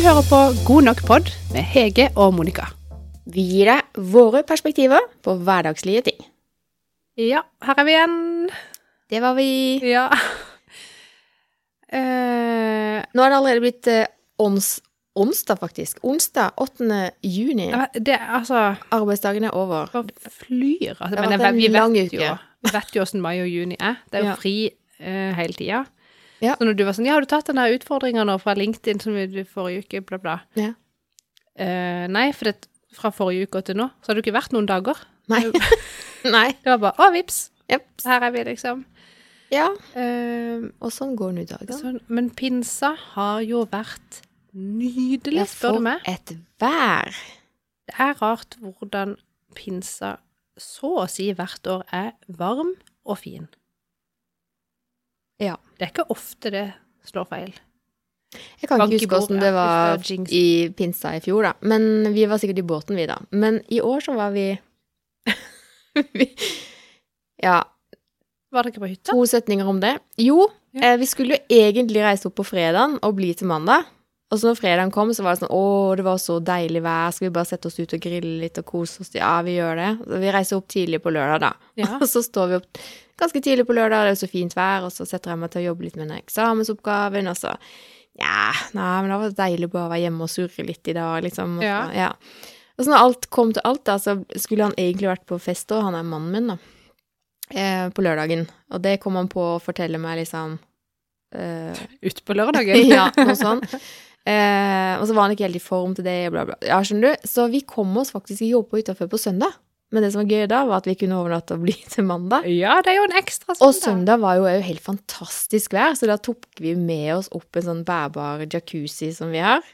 hører på God nok pod med Hege og Monica. Vi gir deg våre perspektiver på hverdagslige ting. Ja, her er vi igjen. Det var vi. Ja. Eh, Nå er det allerede blitt eh, ons, onsdag, faktisk. Onsdag 8. juni. jeg vet- det er altså Arbeidsdagen er over. bare flyr. Altså, har men jeg, vært en vi lang vet jo, uke. vet jo hvordan mai og juni er. Det er jo Ja. fri eh, hele tida. Ja. Så når du var sånn Ja, har du tatt den der utfordringa nå fra LinkedIn som vi forrige uke, bla, bla. Ja. Eh, nei, for det, fra forrige uke og til nå, så har det ikke vært noen dager. Nei. Nei. Det var bare Å, vips! Jep. Her er vi, liksom. Ja. Eh, Og sånn går nå dagen. sånn, men pinsa har jo vært nydelig, Ja, spør du for meg. et vær. Det er rart hvordan pinsa så å si hvert år er varm og fin. Ja. Det er ikke ofte det slår feil. Jeg kan Bank i ikke bordet, huske hvordan det ja, hvis var det er jinx. i pinsa i fjor, da. Men vi var sikkert i båten, vi, da. Men i år så var vi Vi Ja. Var det ikke på hytta? To setninger om det. Jo, Ja. eh, vi skulle jo egentlig reise opp på fredagen og bli til mandag. Og så når fredagen kom, så var det sånn Å, det var så deilig vær. Skal vi bare sette oss ut og grille litt og kose oss? Ja, vi gjør det. Så vi reiser opp tidlig på lørdag, da. Ja. Og så står vi opp ganske tidlig på lørdag, det er jo så fint vær, og så setter jeg meg til å jobbe litt med den eksamensoppgaven, og så Nja, nei, men det var deilig bare å være hjemme og surre litt i dag, liksom. Og Ja. Så, ja. Og så når alt kom til alt, da, så skulle han egentlig vært på fest òg, han er mannen min, da. Eh, på lørdagen. Og det kom han på å fortelle meg, liksom. Eh, Ut på lørdagen? ja, noe sånn. Eh, og så var han ikke helt i form til det, bla, bla. Ja, skjønner du? Så vi kom oss faktisk ikke opp på hytta før på søndag. Men det som var gøy da, var at vi kunne overnatte og bli til mandag. Ja, det er jo en ekstra Og søndag. søndag var jo òg helt fantastisk vær, så da tok vi med oss opp en sånn bærbar jacuzzi som vi har.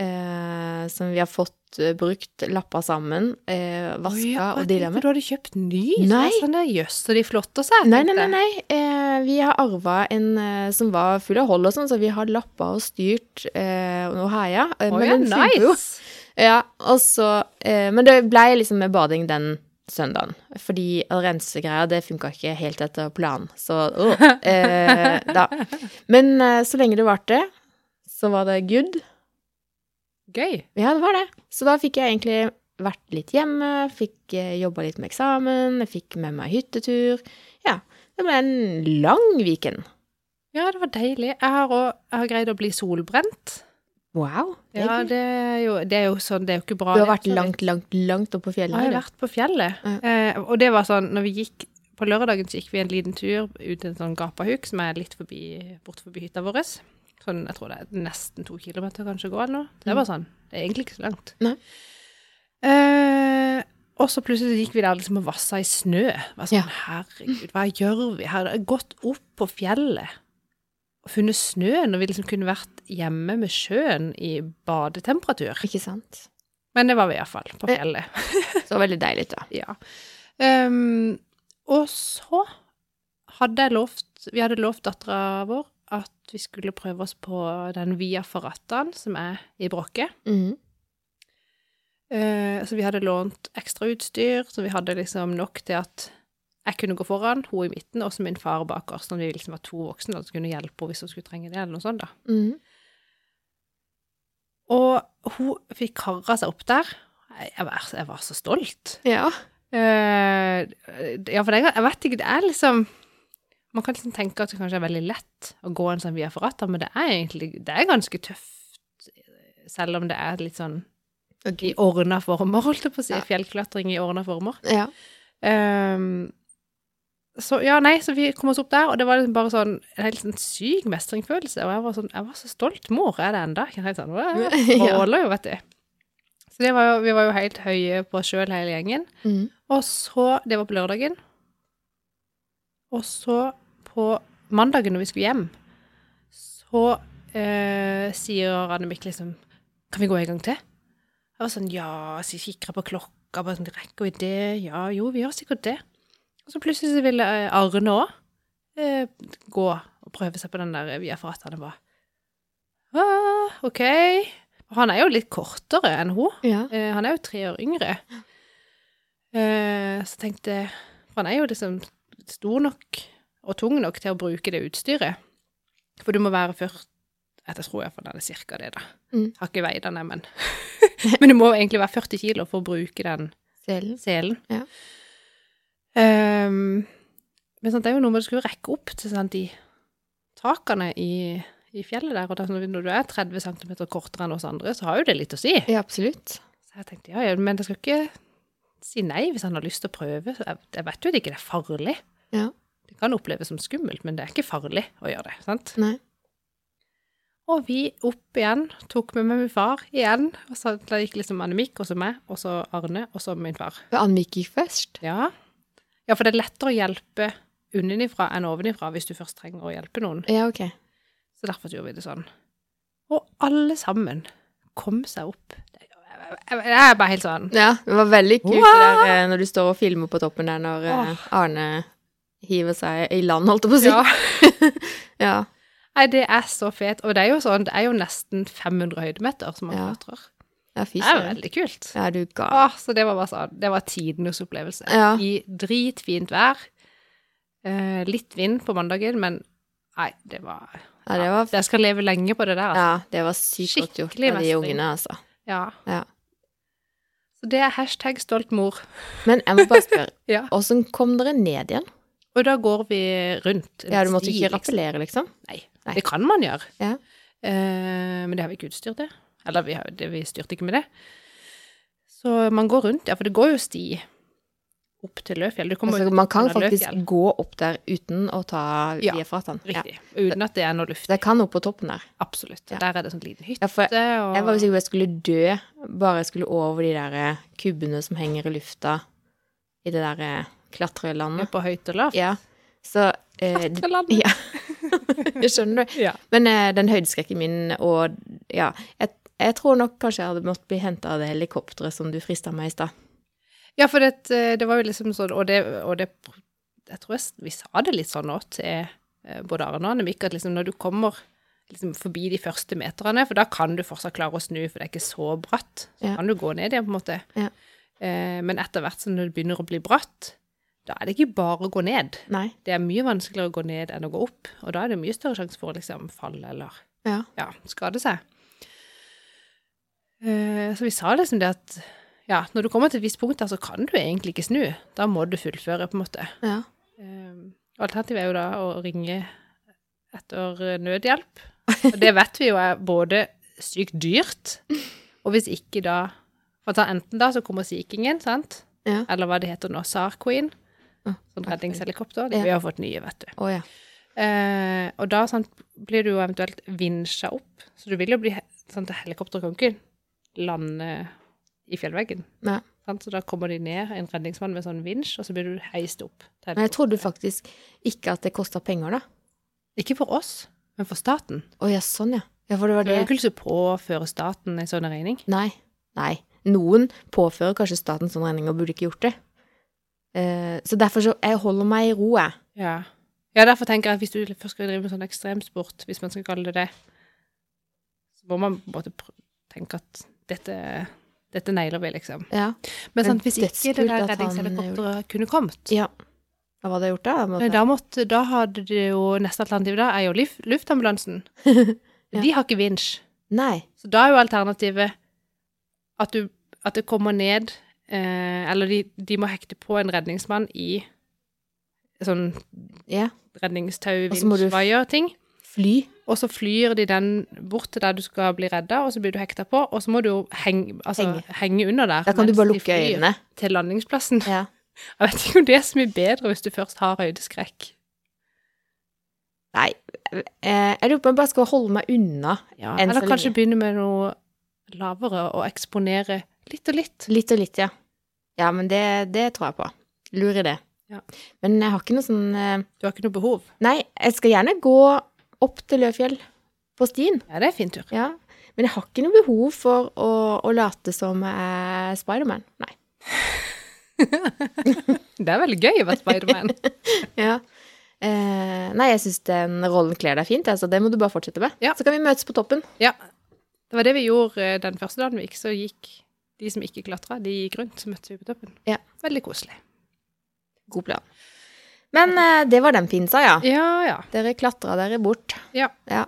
Eh, som vi har fått eh, brukt, lappa sammen, eh, vaska og dilla med. Du hadde kjøpt ny? Nei. Så jeg Sånn, Jøss, så de flotter seg. Nei, nei, tenkte nei. jeg. nei. Eh, vi har arva en eh, som var full av hold og sånn, så vi har lappa og styrt eh, og heia. Eh, Å ja, funker jo. nice! Ja, og så, eh, men det blei liksom med bading den søndagen. Fordi rensegreier, det funka ikke helt etter planen. Så åh, eh, da. Men eh, så lenge det varte, så var det good. Eh, Gøy. Ja, det var det. Så da fikk jeg egentlig vært litt hjemme, fikk eh, jobba litt med eksamen, jeg fikk med meg hyttetur. Ja. Det ble en lang weekend. Ja, det var deilig. Jeg har òg jeg har greid å bli solbrent. Wow. det er Ja, kult. det er jo, det er jo sånn, det er jo ikke bra. du har vært det, så langt, langt, langt oppe på vidt. fjellet? Ja, Jeg har du. vært på fjellet. Ja. Eh, og det var sånn, når vi gikk på lørdagen, så gikk vi en liten tur ut til en sånn gapahuk som er litt forbi, bort forbi hytta vår. Sånn, jeg tror det er nesten to kilometer kanskje å gå eller noe. Det var sånn, det er egentlig ikke så langt. Mm. Nei. Eh, og så plutselig gikk vi der liksom og vassa i snø. Det var Ja. sånn, herregud, hva gjør vi her? Jeg har gått opp på fjellet og funnet snø når vi liksom kunne vært hjemme med sjøen i badetemperatur. Ikke sant? Men det var vi iallfall, på Ja. fjellet. Så veldig deilig, da. Ja. Ehm, og så hadde jeg lovt Vi hadde lovt dattera vår at vi skulle prøve oss på den Via Ferrataen som er i Bråke. Mhm. Eh, så vi hadde lånt ekstra utstyr, så vi hadde liksom nok til at jeg kunne gå foran, hun i midten, og så min far bak oss. Når vi liksom var to voksne, da, så kunne jeg hjelpe henne hvis hun skulle trenge det, eller noe sånt, da. Mhm. Og hun fikk kara seg opp der. Jeg, jeg, var, jeg var så stolt. Ja. Eh, ja, for det, jeg vet ikke, det er liksom Man kan liksom tenke at det kanskje er veldig lett å gå en sånn via ferrata, men det er egentlig det er ganske tøft, selv om det er litt sånn i ordna former, holdt jeg på å si. Ja. Fjellklatring i ordna former. ja. Ehm, så ja, nei, så vi kom oss opp der, og det var liksom bare sånn en helt sånn syk mestringsfølelse. Og jeg var sånn, jeg var så stolt. Mor er det enda. Jeg er helt sånn, «Åh, jeg Ja. Stråler jo, vet du. Så det var jo, vi var jo helt høye på oss sjøl, hele gjengen. Mhm. Og så Det var på lørdagen. Og så på mandagen når vi skulle hjem, så eh, sier Anne Mikk liksom Kan vi gå en gang til? Jeg var sånn Ja, så kikker jeg på klokka, bare sånn Rekker vi det? Ja, jo, vi gjør sikkert det. Og så plutselig så ville eh, Arne òg eh, gå og prøve seg på den der via Ferrataen. og bare ah, OK. Og han er jo litt kortere enn hun. ja. Eh, han er jo tre år yngre. Eh, så tenkte jeg For han er jo liksom stor nok og tung nok til å bruke det utstyret. For du må være 40 Jeg tror iallfall den er cirka det, da. Mm. Har ikke veid den, jeg, men Men det må egentlig være 40 kilo for å bruke den Selen. selen. Ja. Ehm, men sant, det er jo noe med at du skulle rekke opp til sant, de takene i, i fjellet der. Og det er sånn, når du er 30 cm kortere enn oss andre, så har jo det litt å si. Ja, absolutt. Så jeg tenkte ja, ja, men jeg skal ikke si nei hvis han har lyst til å prøve. Så Jeg, jeg vet jo at det ikke er farlig. Ja. Det kan oppleves som skummelt, men det er ikke farlig å gjøre det. sant? Nei. Og vi opp igjen, tok med meg min far igjen. og så Da gikk liksom Annemik, og så meg, og så Arne, og så min far. Men Annvik gikk først. Ja. ja, for det er lettere å hjelpe unnenifra enn ovenifra hvis du først trenger å hjelpe noen. Ja, ok. Så derfor gjorde vi det sånn. Og alle sammen kom seg opp. Jeg jeg er bare helt sånn Ja, det var veldig kult det der, eh, når du står og filmer på toppen der når eh, Arne hiver seg i land, holdt jeg på å si. Ja. ja. Nei, det er så fet. Og det er jo sånn, det er jo nesten 500 høydemeter som man Ja. klatrer. Ja, fy Det er søren. veldig kult. Ja, du ga. Åh, så det var bare sånn, det var tidenes opplevelse. Ja. I dritfint vær. Eh, litt vind på mandagen, men nei, det var Ja, det var, Jeg skal leve lenge på det der, altså. ja, det var sykt godt gjort Skikkelig av de mestring. ungene, altså. Ja. Ja. Så det er hashtag stolt mor. Men jeg må bare spørre, Ja. åssen kom dere ned igjen? Og da går vi rundt. en Ja, du måtte sti, ikke liksom. rappellere, liksom? Nei. Nei. Det kan man gjøre. Ja. Eh, men det har vi ikke utstyr til. Eller vi, har, det, vi styrte ikke med det. Så man går rundt. Ja, for det går jo sti opp til Løfjell. Du kommer Altså, ut man kan under faktisk Løfjell. gå opp der uten å ta Ja, via fratan. Ja. Riktig. Uten at det er noe luft. Så jeg kan opp på toppen der. Absolutt. Ja. Og Der er det sånn liten hytte. Ja, for og... Jeg var jo sikker på at jeg skulle dø bare jeg skulle over de der eh, kubbene som henger i lufta i det der eh, klatrelandet. på høyt og lavt. Ja. Så eh, d- Klatreland. Ja. Skjønner du? Ja. Men eh, den høydeskrekken min og Ja. Jeg, jeg tror nok kanskje jeg hadde måttet bli henta av det helikopteret som du frista meg i stad. Ja, for det, det var jo liksom sånn, og det, og det Jeg tror jeg, vi sa det litt sånn òg til eh, både Arne og Annemik, at liksom når du kommer liksom forbi de første meterne, for da kan du fortsatt klare å snu, for det er ikke så bratt, så Ja. kan du gå ned igjen, på en måte. Ja. Eh, men etter hvert som det begynner å bli bratt, da er det ikke bare å gå ned. Nei. Det er mye vanskeligere å gå ned enn å gå opp, og da er det mye større sjanse for å liksom falle eller Ja. ja, skade seg. Eh, Så vi sa liksom det at ja, når du kommer til et visst punkt der, så kan du egentlig ikke snu. Da må du fullføre, på en måte. ja. Eh, Alternativet er jo da å ringe etter eh, nødhjelp. Og det vet vi jo er både sykt dyrt, og hvis ikke da for da Enten da så kommer Sea Kingen, sant? Ja. Eller hva det heter nå, SAR Queen. Ja. Sånn redningshelikopter. Det, vi har fått nye, vet du. Å ja. Eh, og da sant, blir du jo eventuelt vinsja opp, så du vil jo bli he- sant, Helikopteret kan ikke lande i fjellveggen. Nei. Sant? Så da kommer de ned, en redningsmann med sånn vinsj, og så blir du heist opp. til Men jeg trodde faktisk ikke at det kosta penger, da. helikopteret. Ikke for oss, men for staten. Å ja, sånn, ja. Ja, for det var Du kan det ikke lyst til å påføre staten en sånn regning. Nei. Nei. Noen påfører kanskje staten sånn regning og burde ikke gjort det. Eh, så derfor så Jeg holder meg i ro, jeg. Ja. ja, derfor tenker jeg at hvis du først skal drive med sånn ekstremsport, hvis man skal kalle det det, så må man på en måte pr- tenke at dette, dette nailer vi, liksom. Ja. Men Men sånn, sant, hvis ikke det der dødskult at han gjorde- redningshelikopteret kunne kommet ja. Hva var det jeg gjort da? Jeg måtte- Nei, da, måtte, da hadde det jo neste alternativ da, er jo liv, luftambulansen. De har ikke vinsj. Nei. Så da er jo alternativet at, du, at det kommer ned eh, Eller de, de må hekte på en redningsmann i sånn Ja. redningstau, Og så må du- vinsjvaier, ting. Fly. Og så flyr de den bort til der du skal bli redda, og så blir du hekta på, og så må du jo henge, altså, Henge. henge. under der. Da kan du mens bare de lukke flyr øynene. Til landingsplassen. Ja. Jeg vet ikke om det er så mye bedre hvis du først har høydeskrekk. Nei. Eh, jeg lurer på om jeg bare skal holde meg unna Ja, enn eller så kanskje lenge. begynne med noe lavere og eksponere litt og litt. Litt og litt, ja. Ja, men det, det tror jeg på. Lur idé. Ja. Men jeg har ikke noe sånn eh, Du har ikke noe behov. Nei, jeg skal gjerne gå opp til Løfjell på stien. Ja, det er fin tur. Ja, men jeg har ikke noe behov for å, å late som jeg er Spiderman. Nei. Det er veldig gøy å være Spiderman. Ja. Eh, nei, jeg syns den rollen kler deg fint, altså, det må du bare fortsette med. Ja. Så kan vi møtes på toppen. ja. Det var det vi gjorde eh, den første dagen vi gikk, så gikk de som ikke klatra, de gikk rundt, så møttes vi på toppen. Ja. Veldig koselig. God plan. Men eh, det var den pinsa, ja. Ja, ja. Dere klatra dere bort. Ja. Ja.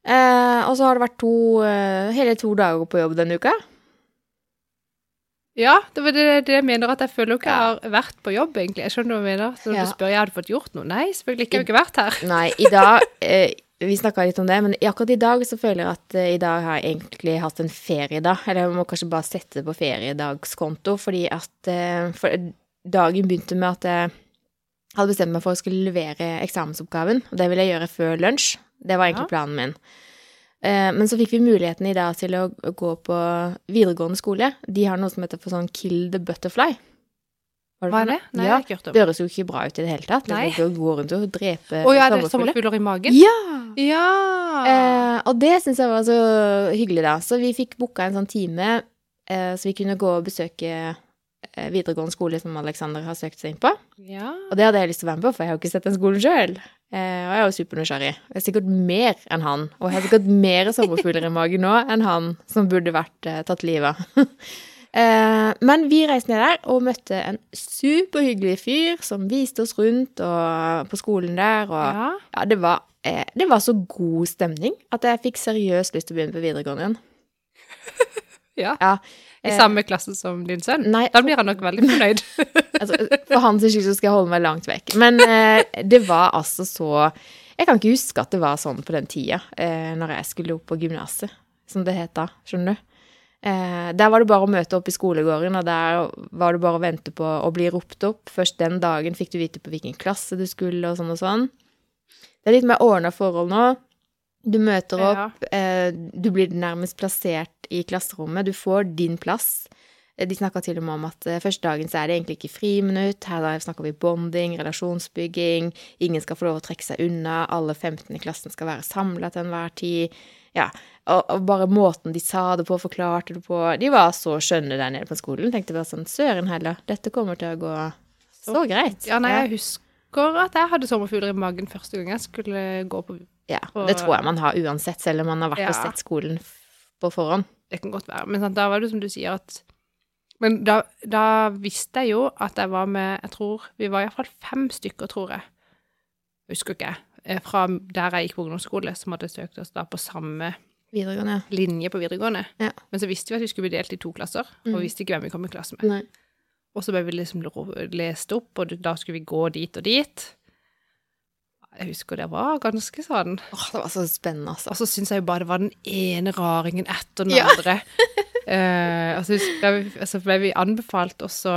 Eh, og så har det vært to, eh, hele to dager på jobb denne uka. Ja, det var det, det jeg mener at jeg føler jo ikke jeg har vært på jobb, egentlig. Jeg skjønner hva du mener. Så når Ja. du spør, jeg hadde fått gjort noe. Nei, selvfølgelig ikke. Jeg har jo ikke vært her. Nei, i dag eh, Vi snakka litt om det, men akkurat i dag så føler jeg at eh, i dag har jeg egentlig hatt en feriedag. Eller jeg må kanskje bare sette det på feriedagskonto, fordi at eh, for Dagen begynte med at jeg hadde bestemt meg for å skulle levere eksamensoppgaven. Og det ville jeg gjøre før lunsj. Det var egentlig Ja. planen min. Eh, Men så fikk vi muligheten i dag til å å gå på videregående skole. De har noe som heter for sånn Kill the Butterfly. Har du Hva hørt er om det? Nei, jeg Ja. har ikke hørt om. Det høres jo ikke bra ut i det hele tatt. Nei. Det går gå rundt og drepe Å ja, det Ah. er sommerfugler. sommerfugler i magen? Ja! Ja! Eh, og det syns jeg var så hyggelig, da. Så vi fikk booka en sånn time, eh, så vi kunne gå og besøke eh, videregående skole som Alexander har søkt seg inn på. ja. Og det hadde jeg lyst til å være med på, for jeg har jo ikke sett den skolen sjøl. Eh, og jeg er jo supernysgjerrig. Jeg er sikkert mer enn han. Og jeg har sikkert mer sommerfugler i magen nå enn han som burde vært eh, tatt livet av. eh, men vi reiste ned der og møtte en superhyggelig fyr som viste oss rundt og eh, på skolen der. Og ja. ja, det var, eh, det var så god stemning at jeg fikk seriøst lyst til å begynne på videregående igjen. Ja. Ja, I eh, samme klasse som din sønn? Nei, Da blir han nok veldig fornøyd. altså, for hans skyld så skal jeg holde meg langt vekk. Men eh, det var altså så Jeg kan ikke huske at det var sånn på den tida, eh, når jeg skulle opp på gymnaset, som det het da. Skjønner du? Eh, der var det bare å møte opp i skolegården, og der var det bare å vente på å bli ropt opp. Først den dagen fikk du vite på hvilken klasse du skulle, og sånn og sånn. Det er litt mer ordna forhold nå. Du møter opp, Ja. Eh, Du blir nærmest plassert i klasserommet. Du får din plass. Eh, De snakka til og med om at eh, første dagen så er det egentlig ikke friminutt. Her da snakker vi bonding, relasjonsbygging. Ingen skal få lov å trekke seg unna. Alle 15 i klassen skal være samla til enhver tid. Ja, og, og bare måten de sa det på, forklarte det på De var så skjønne der nede på skolen. Tenkte bare sånn Søren heller, dette kommer til å gå så greit. Ja, nei, jeg husker at jeg hadde sommerfugler i magen første gang jeg skulle gå på ja, på- det tror jeg man har uansett, selv om man har vært og Ja. sett skolen f- på forhånd. Det kan godt være. Men sant, da var det som du sier at Men da, da visste jeg jo at jeg var med Jeg tror vi var iallfall fem stykker, tror jeg. Husker ikke. jeg, eh, Fra der jeg gikk på ungdomsskole, som hadde søkt oss da på samme Videregående, ja. linje på videregående. Ja. Men så visste vi at vi skulle bli delt i to klasser, og Mhm. vi visste ikke hvem vi kom i klasse med. Nei. Og så ble vi liksom ro- lest opp, og da skulle vi gå dit og dit. Jeg husker det var ganske sånn Åh, det var så spennende, altså. Og så syns jeg jo bare det var den ene raringen etter den Ja. andre. Eh, og så ble vi, så ble vi anbefalt også å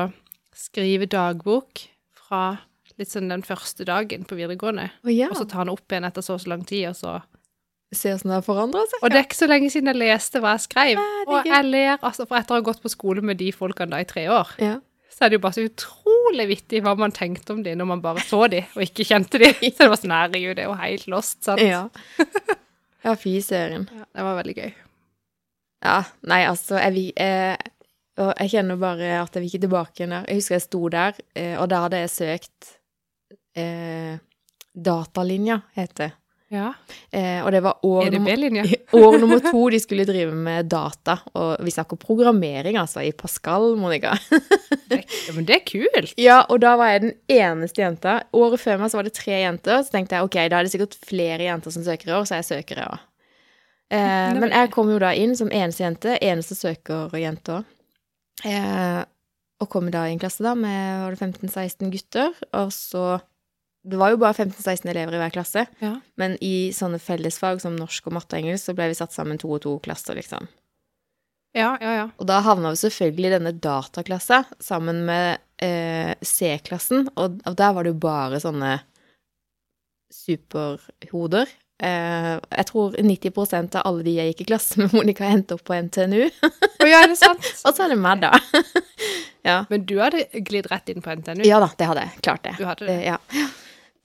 skrive dagbok fra litt sånn den første dagen på videregående. Å ja. Og så ta den opp igjen etter så og så lang tid, og så Se åssen det har forandra seg. Og det er ikke så lenge siden jeg leste hva jeg skrev. det er Og gøy. jeg ler, altså, for etter å ha gått på skole med de folkene da i tre år, Ja. så er det jo bare så utrolig vittig hva man tenkte om de når man bare så de, og ikke kjente de. Så det var sånn herregud, det er jo helt lost, sant. Ja. ja, fy søren. Ja, det var veldig gøy. Ja, nei, altså, jeg vil eh, Og jeg kjenner bare at jeg vil ikke tilbake igjen der. Jeg husker jeg sto der, eh, og da hadde jeg søkt eh, Datalinja, heter det. Ja. Eh, og det var år Er det nummer- B-linje? År nummer to de skulle drive med data, og vi snakker programmering, altså, i Pascal, Monica. Det- Ja, men det er kult. Ja, og da var jeg den eneste jenta. Året før meg så var det tre jenter. Så tenkte jeg ok, da er det sikkert flere jenter som søker i år, så jeg søker i år. Eh, men jeg kom jo da inn som eneste jente, eneste søker jente òg. Eh, og kom da i en klasse da med var det 15-16 gutter. Og så Det var jo bare 15-16 elever i hver klasse. Ja. Men i sånne fellesfag som norsk og matte og engelsk så ble vi satt sammen to og to klasser, liksom. Ja, ja, ja. Og da havna vi selvfølgelig i denne dataklassa sammen med eh, C-klassen, og, og der var det jo bare sånne superhoder. Eh, jeg tror 90 av alle de jeg gikk i klasse med Monica, endte opp på NTNU. Å ja, er det sant? Og så er det meg, da. ja. Men du hadde glidd rett inn på NTNU? ja da, det hadde jeg. Klart det. Du hadde det? Det, ja.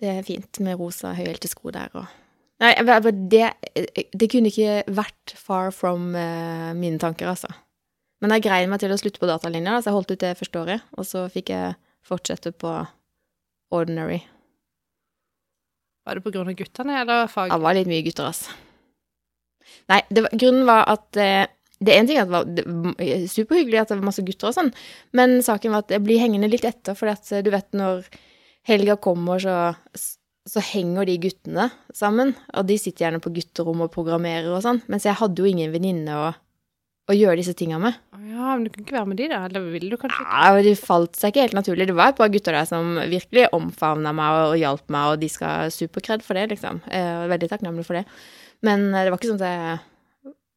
det er fint med rosa høyhælte sko der og Nei, jeg bare- bare det, det kunne ikke vært far from eh, mine tanker, altså. Men jeg greide meg til å slutte på datalinja, da, så jeg holdt ut det første året. Og så fikk jeg fortsette på ordinary. Var det på grunn av guttene eller fag? Det var litt mye gutter, altså. Nei, det var, grunnen var at eh, Det er en ting at det var det, var superhyggelig at det var masse gutter og sånn, men saken var at jeg blir hengende litt etter, for at eh, du vet når helga kommer, så s- så henger de guttene sammen, og de sitter gjerne på gutterom og programmerer og sånn, mens jeg hadde jo ingen venninne å, å gjøre disse tinga med. Å Ja, men du kan ikke være med de, da? Eller vil du kanskje? Ja, og det falt seg ikke helt naturlig. Det var et par gutter der som virkelig omfavna meg og, og hjalp meg, og de skal ha superkred for det, liksom. Eh, og er veldig takknemlig for det. Men eh, det var ikke sånn at jeg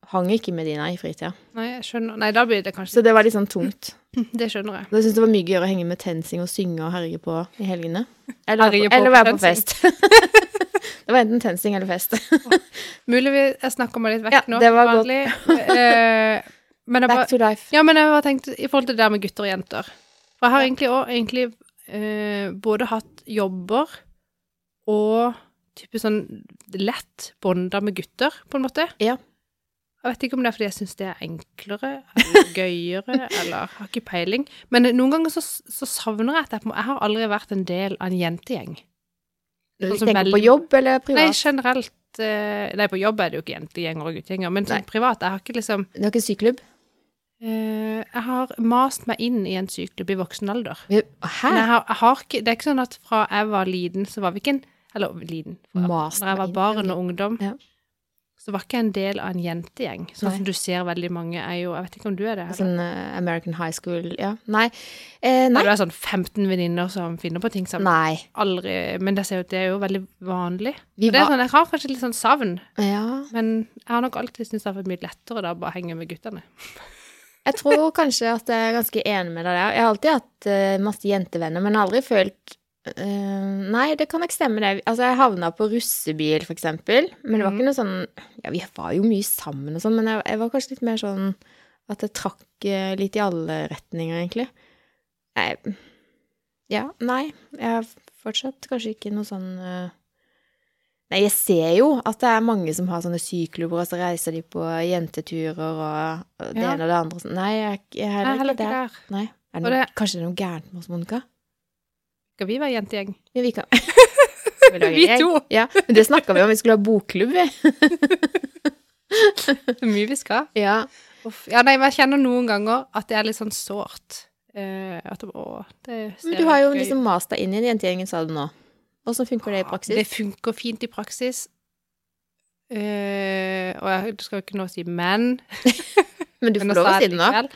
hang ikke med de, nei, i fritida. Nei, jeg skjønner. Nei, da blir det kanskje Så det var litt sånn tungt. Det skjønner jeg. Jeg syntes det var mye gøyere å henge med TenSing og synge og herje på i helgene. Eller, Herje på eller være på fest. TenSing. det var enten TenSing eller fest. Mulig vi, jeg snakker meg litt vekk Ja, nå, det var som vanlig. Eh, men jeg bare Back to life. Ja, men jeg har tenkt i forhold til det der med gutter og jenter. For jeg har egentlig òg egentlig eh, både hatt jobber og type sånn lett bonda med gutter, på en måte. Ja. Jeg vet ikke om det er fordi jeg syns det er enklere eller gøyere eller har ikke peiling. Men noen ganger så, så savner jeg at jeg, på en måte- jeg har aldri vært en del av en jentegjeng. Du Sånn som tenker på veldig- jobb eller Nei, privat? generelt eh, Nei, på jobb er det jo ikke jentegjenger og guttegjenger, men sånn Nei. privat Jeg har ikke liksom Du har ikke syklubb? eh, Jeg har mast meg inn i en syklubb i voksen alder. Hæ? Men jeg har, jeg har ikke, det er ikke sånn at fra jeg var liten, så var vi ikke en Eller liten fra- Mast Når jeg var meg inn, barn eller? og ungdom, Ja. så var ikke jeg en del av en jentegjeng. Sånn Nei. som du ser veldig mange er jo Jeg vet ikke om du er det? Eller? Sånn eh, American high school Ja. Nei. Eh, Når nei. du er sånn 15 venninner som finner på ting sammen. Nei. Aldri Men det, ser jo, det er jo veldig vanlig. Vi Og det er var sånn, jeg har kanskje litt sånn savn, Ja. men jeg har nok alltid syntes det har vært mye lettere da å bare henge med guttene. Jeg tror kanskje at jeg er ganske enig med deg der. Jeg har alltid hatt eh, masse jentevenner, men aldri følt eh, Nei, det kan nok stemme, det. Altså, jeg havna på russebil, for eksempel. Men det var ikke noe sånn Ja, vi var jo mye sammen og sånn, men jeg, jeg var kanskje litt mer sånn at jeg trakk eh, litt i alle retninger, egentlig. Nei. Ja, nei. Jeg har fortsatt kanskje ikke noe sånn eh, Nei, jeg ser jo at det er mange som har sånne syklubber, og så reiser de på jenteturer og og det Ja. ene og det andre. og sånn. Nei, jeg, jeg er Jeg er heller, heller ikke ikke der. der. Nei. Er Og det noe, det- Kanskje det er noe gærent med oss, Monica? Skal vi være jentegjeng? Ja, vi kan lager en Vi gjeng. to! Ja, men det snakka vi om. Vi skulle ha bokklubb, vi. Så mye vi skal. Ja. Uff. Ja, nei, men jeg kjenner noen ganger at det er litt sånn sårt. Eh, at det, å, det ser Men du har jo gøy ut. liksom mast deg inn i den jentegjengen, sa du nå. Åssen funker det i praksis? Det funker fint i praksis. Eh, og jeg du skal jo ikke nå si men. men du men altså får lov å si det nå. likevel.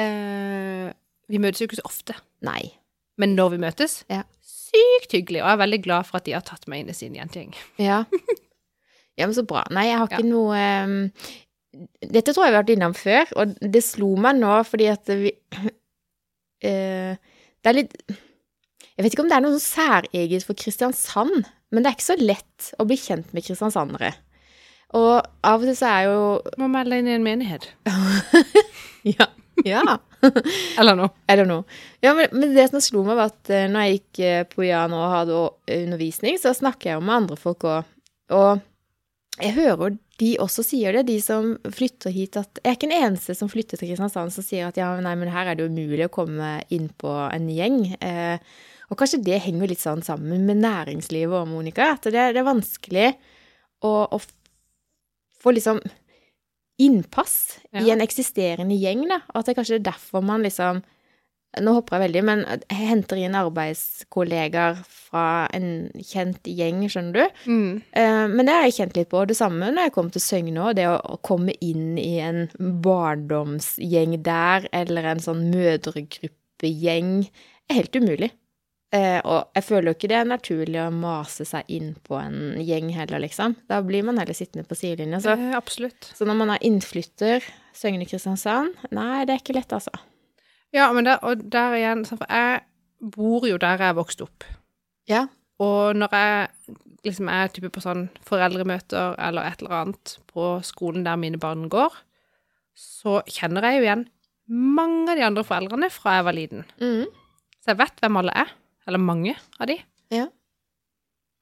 Eh, vi møtes jo ikke så ofte. Nei. Men når vi møtes, Ja. sykt hyggelig. Og jeg er veldig glad for at de har tatt meg inn i sin jentegjeng. Ja. ja, men så bra. Nei, jeg har ikke noe ehm, Dette tror jeg vi har vært innom før, og det slo meg nå fordi at vi eh, Det er litt Jeg vet ikke om det er noe sånn særeget for Kristiansand, men det er ikke så lett å bli kjent med kristiansandere. Og av og til så er jo Må melde inn i en menighet. Ja. ja. Eller noe. I don't know. Ja, men, men det som slo meg, var at eh, når jeg gikk eh, på Jan og hadde å- undervisning, så snakker jeg jo med andre folk òg. Og jeg hører de også sier det, de som flytter hit, at Jeg er ikke den eneste som flytter til Kristiansand som sier at ja, nei, men her er det jo umulig å komme inn på en gjeng. Eh, og kanskje det henger litt sånn sammen med næringslivet òg, Monica. At det, det er vanskelig å, å f- få liksom innpass i Ja. en eksisterende gjeng, da. Og at det er kanskje er derfor man liksom nå hopper jeg veldig, men jeg henter inn arbeidskollegaer fra en kjent gjeng, skjønner du. Mm. Eh, Men det har jeg kjent litt på. Det samme når jeg kom til Søgne òg, det å å komme inn i en barndomsgjeng der, eller en sånn mødregruppegjeng, er helt umulig. Eh, Og jeg føler jo ikke det er naturlig å mase seg inn på en gjeng heller, liksom. Da blir man heller sittende på sidelinja. Så, Eh, absolutt. så når man er innflytter, Søgne-Kristiansand, nei, det er ikke lett, altså. Ja, men der, og der igjen, sånn, for jeg bor jo der jeg vokste opp. Ja. Og når jeg liksom er type på sånn foreldremøter eller et eller annet på skolen der mine barn går, så kjenner jeg jo igjen mange av de andre foreldrene fra jeg var liten. Mm. Så jeg vet hvem alle er, eller mange av de. Ja.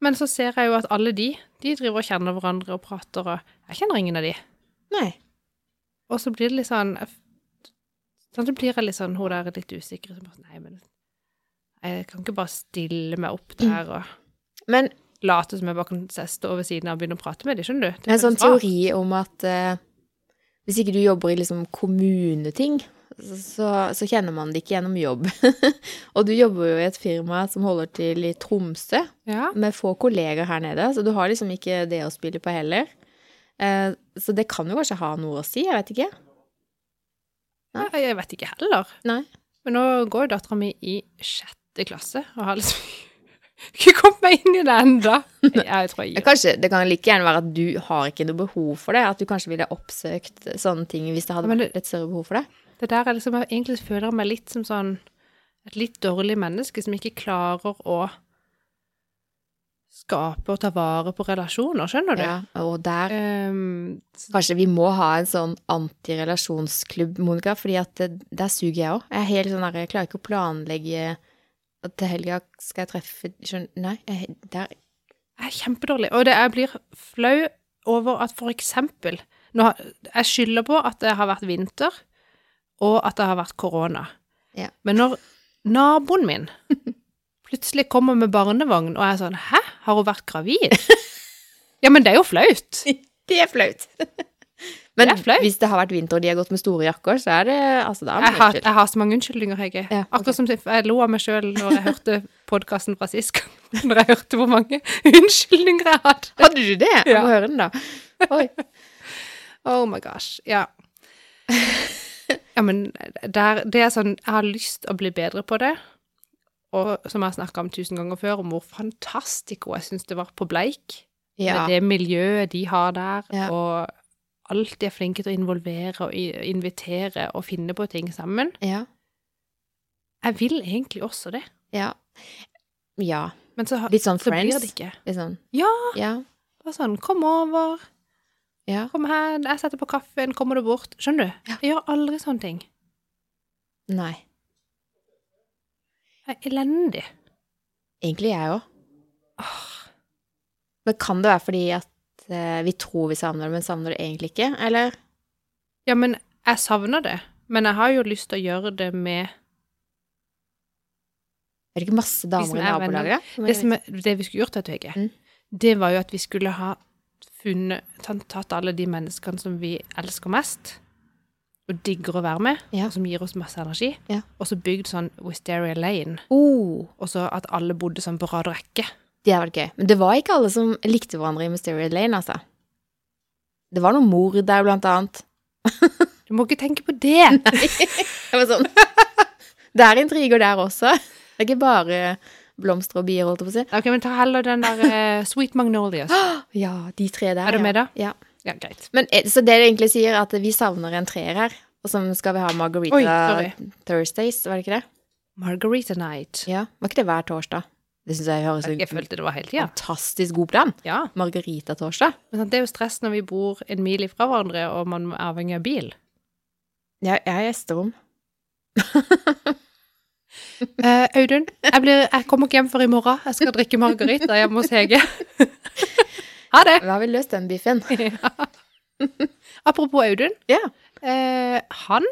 Men så ser jeg jo at alle de, de driver og kjenner hverandre og prater, og jeg kjenner ingen av de. Nei. Og så blir det litt sånn jeg f- Sånn så blir jeg litt sånn Hun der er litt usikker. Så bare, sånn, nei, men jeg kan ikke bare stille meg opp der og Men late som jeg bare kan se- stå ved siden av og begynne å prate med dem, skjønner du? Det er en sånn føles rart. teori om at eh, hvis ikke du jobber i liksom kommuneting, så, så, så kjenner man det ikke gjennom jobb. og du jobber jo i et firma som holder til i Tromsø, Ja. med få kolleger her nede, så du har liksom ikke det å spille på heller. Eh, så det kan jo kanskje ha noe å si, jeg vet ikke. Nei, Jeg vet ikke heller. Nei. Men nå går jo dattera mi i sjette klasse og har liksom ikke kommet meg inn i det ennå. Jeg, jeg tror jeg Ja, gir Kanskje, det kan like gjerne være at du har ikke noe behov for det, at du kanskje ville oppsøkt sånne ting hvis det Ja, hadde men vært et større behov for det. Det der er liksom, jeg egentlig føler jeg meg litt som sånn et litt dårlig menneske som ikke klarer å skape og ta vare på relasjoner, skjønner du? Ja, og der Ehm, Kanskje vi må ha en sånn antirelasjonsklubb, Monica, fordi at det, der suger jeg òg. Jeg er helt sånn der, jeg klarer ikke å planlegge at til helga skal jeg treffe skjønn- Nei, jeg, der jeg er kjempedårlig. Og det, jeg blir flau over at for eksempel nå, har- Jeg skylder på at det har vært vinter, og at det har vært korona. Ja. Men når naboen min plutselig kommer med barnevogn, og jeg er sånn Hæ, har hun vært gravid? ja, men det er jo flaut. Det er flaut. Men Det er flaut. hvis det har vært vinter og de har gått med store jakker, så er det altså da er man Jeg har, unnskyld. jeg har så mange unnskyldninger, Hege. Ja, ok. Akkurat som jeg lo av meg sjøl når jeg hørte podkasten fra sist gang, når jeg hørte hvor mange unnskyldninger jeg hadde. Hadde du det? Jeg Ja. må høre den, da. Oi. Oh my gosh. Ja. ja, men der, det er sånn Jeg har lyst å bli bedre på det. Og som jeg har snakka om tusen ganger før, om hvor fantastisk jeg syns det var på Bleik. Ja. Med det miljøet de har der, Ja. og alt de er flinke til å involvere og i- invitere og finne på ting sammen. Ja. Jeg vil egentlig også det, ja. Ja. men så, har- Litt sånn så blir det friends. ikke. Litt sånn. Ja. Ja. Bare sånn Kom over, ja. kom her, jeg setter på kaffen, kommer du bort? Skjønner du? Ja. Jeg gjør aldri sånne ting. Nei. Jeg er elendig. Egentlig jeg òg. Åh. Men kan det være fordi at eh, vi tror vi savner det, men savner det egentlig ikke? Eller? Ja, men jeg savner det. Men jeg har jo lyst til å gjøre det med Er det ikke masse Vi som damer i er venner. nabolaget? da? Det, som, er- det vi skulle gjort, vet du, Hege, Mm. det var jo at vi skulle ha funnet tatt- Tatt alle de menneskene som vi elsker mest, og digger å være med, Ja. og som gir oss masse energi, Ja. og så bygd sånn Wisteria Lane, Oh, og så at alle bodde sånn på rad og rekke. det hadde vært gøy. Men det var ikke alle som likte hverandre i Mysterious Lane, altså. Det var noe mord der, blant annet. Du må ikke tenke på det! Jeg var sånn Det er intriger der også. Det er ikke bare blomster og bier, holdt jeg på å si. Ok, men ta heller den der eh, Sweet Magnolias. Ja, de tre der. Er du ja. med da? Ja. Ja, greit. Men, eh, så det du egentlig sier, er at vi savner en treer her. Og så skal vi ha Oi, Margarita sorry. Thursdays, var det ikke det? Margarita Night. Ja. Var ikke det hver torsdag? Det syns jeg høres Jeg ut følte det var hele tida. fantastisk god plan. Ja. Margarita-torsdag. Men sant, det er jo stress når vi bor en mil ifra hverandre, og man er avhengig av bil. Ja, jeg har gjesterom. Eh, Audun, jeg, blir, jeg kommer ikke hjem før i morgen. Jeg skal drikke margarita hjemme hos Hege. ha det! Da har vi løst den biffen. Apropos Audun. Ja. Eh, han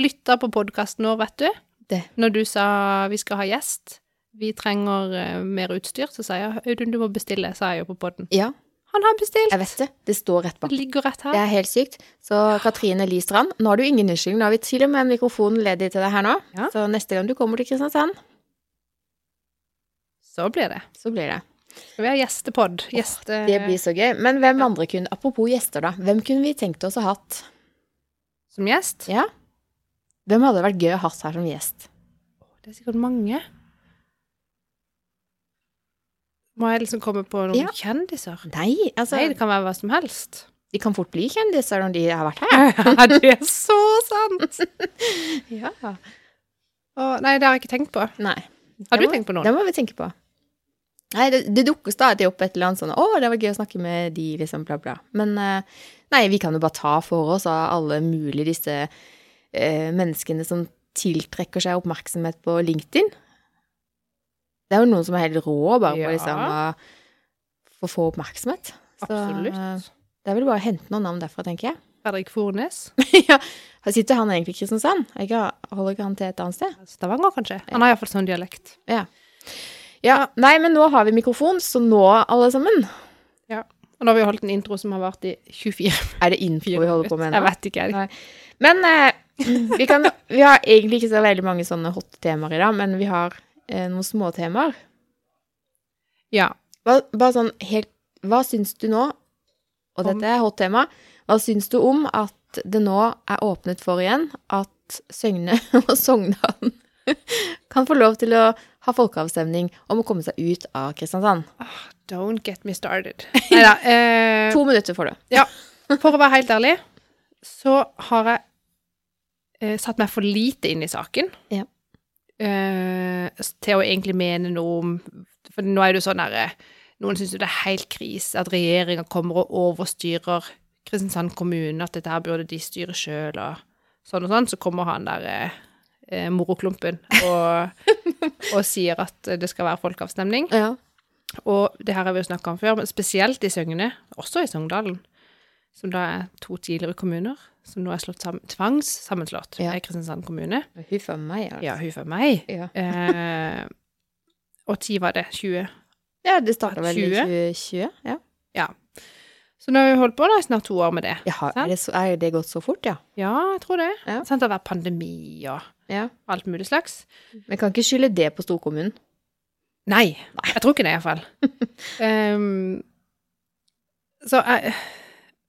lytta på podkasten vår, vet du. Det. Når du sa vi skal ha gjest, vi trenger eh, mer utstyr, så sa jeg Audun, du må bestille, sa jeg jo på podden. Ja, Han har bestilt. jeg vet det. Det står rett bak. Det ligger rett Det her. er helt sykt. Så Katrine Listrand, nå har du ingen unnskyldning. Nå har vi til og med en mikrofon ledig til deg her nå. Ja. Så neste gang du kommer til Kristiansand, Så blir det. så blir det. Skal vi ha gjestepod? Gjeste... Det blir så gøy. Men hvem andre kunne Apropos gjester, da. Hvem kunne vi tenkt oss å hatt? Som gjest? Ja. Hvem hadde det vært gøy å hatt her som gjest? Det er sikkert mange. Må jeg liksom komme på noen Ja. kjendiser? Nei, altså Nei, det kan være hva som helst. De kan fort bli kjendiser når de har vært her. Ja, det er så sant! Ja. Å, nei, det har jeg ikke tenkt på. Nei. Har du Det må- tenkt på noen? Det må vi tenke på. Nei, det, det dukker stadig opp et eller annet sånn 'Å, det var gøy å snakke med de', liksom, bla, bla. Men eh, nei, vi kan jo bare ta for oss av alle mulige disse eh, menneskene som tiltrekker seg oppmerksomhet på LinkedIn. Det er jo noen som er helt rå bare på Ja. liksom å få- få oppmerksomhet. Så, eh, Absolutt. det er vel bare å hente noen navn derfra, tenker jeg. Fredrik Fornes? ja. Sitter han egentlig i Kristiansand? Er ikke- Holder ikke han til et annet sted? Altså, Stavanger, kanskje? Han har iallfall sånn dialekt. Ja, nei, men nå har vi mikrofon, så nå, alle sammen. Og nå har vi holdt en intro som har vart i 24 Er det info vi holder på med Jeg nå? vet ikke. Nei. Men eh, Vi, kan, vi har egentlig ikke så veldig mange sånne hot temaer i dag, men vi har eh, noen småtemaer. Ja. Hva, bare sånn helt Hva syns du nå, og Om- dette er hot tema, hva syns du om at det nå er åpnet for igjen at Søgne og Sogndalen kan få lov til å ha folkeavstemning om å komme seg ut av Kristiansand? Ah, Don't get me started. Neida, eh, To minutter får du. For å være helt ærlig, så har jeg eh, satt meg for lite inn i saken. Ja. Eh, s- til å egentlig mene noe om For nå er det jo sånn herre Noen syns jo det er helt krise at regjeringa kommer og overstyrer Kristiansand kommune, at dette her burde de styre sjøl og sånn og sånn. Så kommer han der eh, eh, moroklumpen og, og sier at det skal være folkeavstemning. Ja. Og det her har vi jo snakka om før, men spesielt i Søgne, også i Sogndalen, som da er to tidligere kommuner, som nå er slått sammen, tvangssammenslått Ja. med Kristiansand kommune. Huff a meg, altså. Ja, hun for meg. Ja. Eh, og ti var det. 20. Ja, det starta vel i 20? 2020? Ja. Så nå har vi holdt på da i snart to år med det. Jaha, Sant? er det, så, er det gått så fort, ja? Ja, jeg tror det. Ja. Sant, det har vært pandemi og ja. alt mulig slags. Men kan ikke skylde det på storkommunen. Nei, jeg tror ikke det iallfall. um, så jeg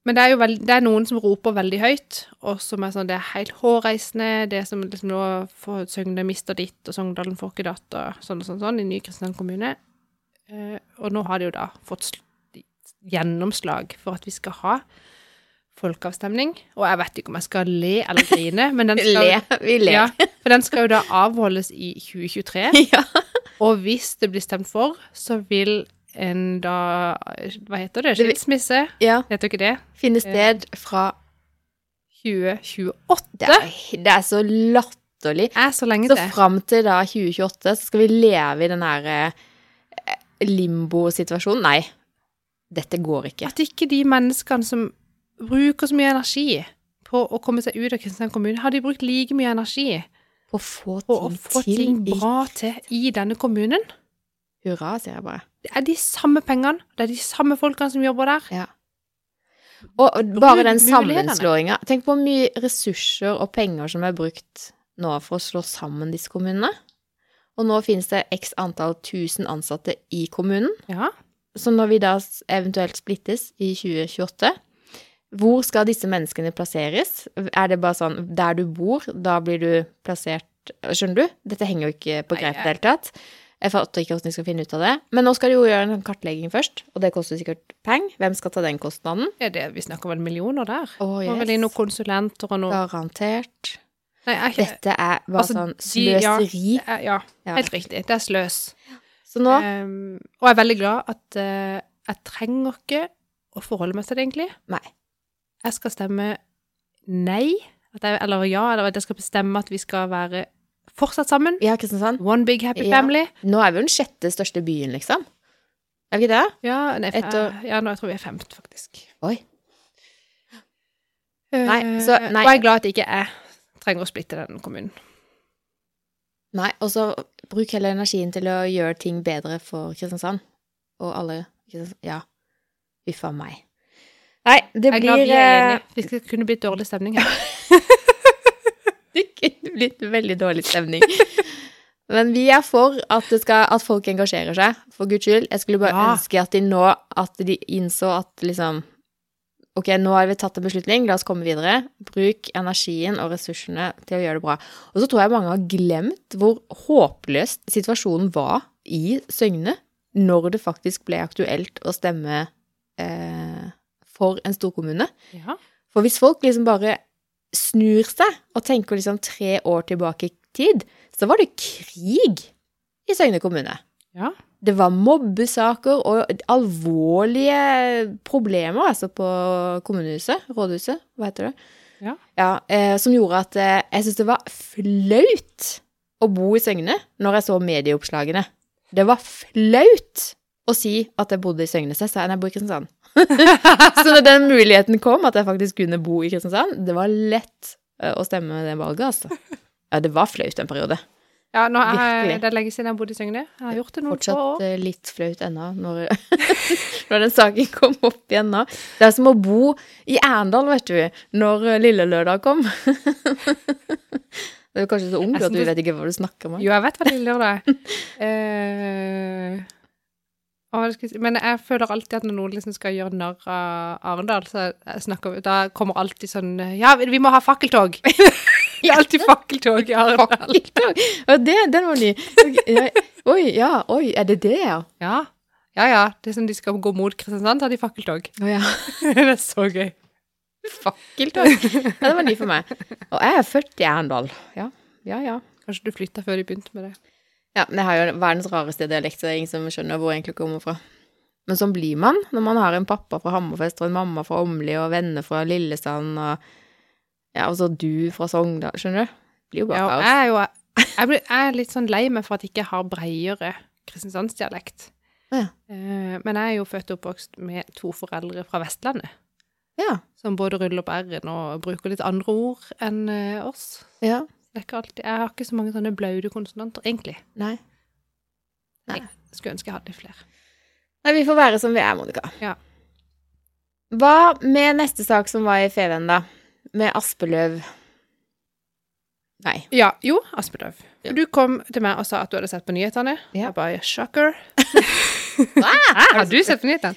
Men det er jo veld, det er noen som roper veldig høyt, og som er sånn Det er helt hårreisende, det som liksom nå får Søgne mister ditt, og Sogndalen får ikke datt, og sånn og sånn, sånn i Ny-Kristiansand kommune. Eh, og nå har de jo da fått sl- gjennomslag for at vi skal ha folkeavstemning. Og jeg vet ikke om jeg skal le eller grine, men den skal, Le. Vi ler. Ja, for den skal jo da avholdes i 2023. Ja. Og hvis det blir stemt for, så vil en da Hva heter det? Det vil- Skilsmisse? ja. Heter ikke det? Finne sted fra 2028? det er, det er så latterlig. Det er så lenge Så til. fram til da 2028 så skal vi leve i den her eh, limbo-situasjonen. Nei, dette går ikke. At ikke de menneskene som bruker så mye energi på å komme seg ut av Kristiansand kommune, har de brukt like mye energi Å få på å ting få til ting i- bra til i denne kommunen? Hurra, sier jeg bare. Det er de samme pengene, det er de samme folkene som jobber der. Ja. Og og bare Bruk den mulighetene. sammenslåinga. Tenk på hvor mye ressurser og penger som er brukt nå for å slå sammen disse kommunene. Og nå finnes det x antall tusen ansatte i kommunen. Ja. Så når vi da s- eventuelt splittes i 2028, hvor skal disse menneskene plasseres? Er det bare sånn der du bor, da blir du plassert Skjønner du? Dette henger jo ikke på Nei, greip i jeg- det hele tatt. Jeg fatter ikke hvordan de skal finne ut av det. Men nå skal de jo gjøre en sånn kartlegging først, og det koster sikkert penger. Hvem skal ta den kostnaden? ja det, vi snakker vel millioner der. Å, Og vel yes. inn noen konsulenter og noe Garantert. Nei, jeg, Dette er bare Altså, sånn de- ja. sløseri. jeg, ja, Ja. helt riktig. Det er sløs. Så nå Ehm, og jeg er veldig glad at eh, jeg trenger ikke å forholde meg til det, egentlig. Nei. Jeg skal stemme nei, at jeg, eller ja, eller at jeg skal bestemme at vi skal være fortsatt sammen. Ja, Kristiansand. One big happy Ja. family. Nå er vi jo den sjette største byen, liksom. Er vi ikke det? Ja, nei, Et år. ja nå, jeg tror vi er femt, faktisk. Oi. Eh, Nei, så- nei. Og jeg er glad at ikke jeg trenger å splitte den kommunen. Nei, og så bruk heller energien til å gjøre ting bedre for Kristiansand. Og alle Kristiansand. Ja. Uff a meg. Nei, det Jeg er glad blir vi er eh, enige. Det skal kunne blitt dårlig stemning her. Det kunne blitt veldig dårlig stemning. Men vi er for at, det skal, at folk engasjerer seg, for guds skyld. Jeg skulle bare Ja. ønske at de nå at de innså at liksom Ok, nå har vi tatt en beslutning, la oss komme videre. Bruk energien og ressursene til å gjøre det bra. Og så tror jeg mange har glemt hvor håpløst situasjonen var i Søgne når det faktisk ble aktuelt å stemme eh, for en storkommune. Ja. For hvis folk liksom bare snur seg og tenker liksom tre år tilbake i tid, så var det krig i Søgne kommune. Ja. Det var mobbesaker og alvorlige problemer altså på kommunehuset, rådhuset, hva heter det? Ja. eh, som gjorde at eh, jeg syntes det var flaut å bo i Søgne når jeg så medieoppslagene. Det var flaut å si at jeg bodde i Søgne. Så jeg sa nei, jeg bor i Kristiansand. så når den muligheten kom, at jeg faktisk kunne bo i Kristiansand, det var lett eh, å stemme det valget, altså. Ja, det var flaut en periode. Ja, nå er, Virkelig. det er lenge siden jeg har bodd i Søgne. Jeg har gjort det noen få Fortsatt år. eh, litt flaut ennå, når, når den saken kom opp igjen nå. Det er som å bo i Erndal, vet du, når eh, Lille Lørdag kom. Du er kanskje så ung Jeg at du synes- vet ikke hva du snakker om. Jo, jeg vet hva Lille Lørdag er. Eh, å, hva skal jeg si? Men jeg føler alltid at når noen liksom skal gjøre narr av Arendal, så jeg snakker, da kommer alltid sånn Ja, vi må ha fakkeltog! Det er alltid fakkeltog i Arendal. Ja, det, den var ny. Ok, ja, Oi, ja, oi, er det det, ja? Ja. ja, ja. Det er som de skal gå mot Kristiansand, så har de fakkeltog. Å ja. det er så gøy. Fakkeltog. Ja, den var ny for meg. Og jeg er født i Erndal. Ja, ja, ja. Kanskje du flytta før de begynte med det. Ja, men jeg har jo verdens rareste dialekt, så det er ingen som skjønner hvor jeg egentlig kommer fra. Men sånn blir man når man har en pappa fra Hammerfest og en mamma fra Åmli og venner fra Lillesand og Ja, og så du fra Sogndal, skjønner du? Det blir jo bare Ja, og kaos. jeg er jo jeg blir- jeg er litt sånn lei meg for at jeg ikke har breiere kristiansandsdialekt. Ja. Eh, Men jeg er jo født og oppvokst med to foreldre fra Vestlandet, Ja, som både ruller opp r-en og bruker litt andre ord enn eh, oss. ja. Det er ikke alltid, jeg har ikke så mange sånne blaude konsonanter, egentlig. Nei. Skulle ønske jeg hadde litt flere. Nei, vi får være som vi er, Monica. Ja. Hva med neste sak som var i Feven, da? Med Aspeløv Nei. Ja, jo, Aspeløv. Ja. Du kom til meg og sa at du hadde sett på nyhetene. Ja. Jeg bare, shocker. Hva? Hæ, har du sett på nyhetene?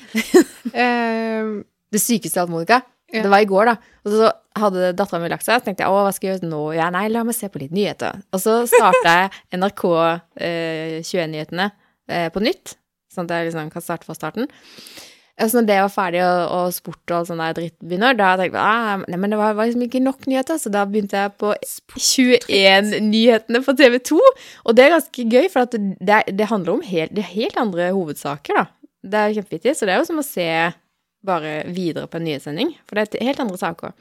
Eh, Det sykeste av alt, Monica. Ja. Det var i går, da. Og så hadde dattera mi lagt seg, så tenkte jeg å, hva skal jeg gjøre nå? Ja, nei, la meg se på litt nyheter. Og så starta jeg NRK eh, 21-nyhetene eh, på nytt, sånn at jeg liksom kan starte fra starten. Og så når det var ferdig, og, og sport og sånn der dritt begynner, da tenkte jeg ah, nei, men det var, var liksom ikke nok nyheter, så da begynte jeg på 21-nyhetene på TV 2. Og det er ganske gøy, for at det, det handler om helt, det er helt andre hovedsaker, da. Det er kjempevittig, så det er jo som å se bare videre på en nyhetssending, for det er et- helt andre saker.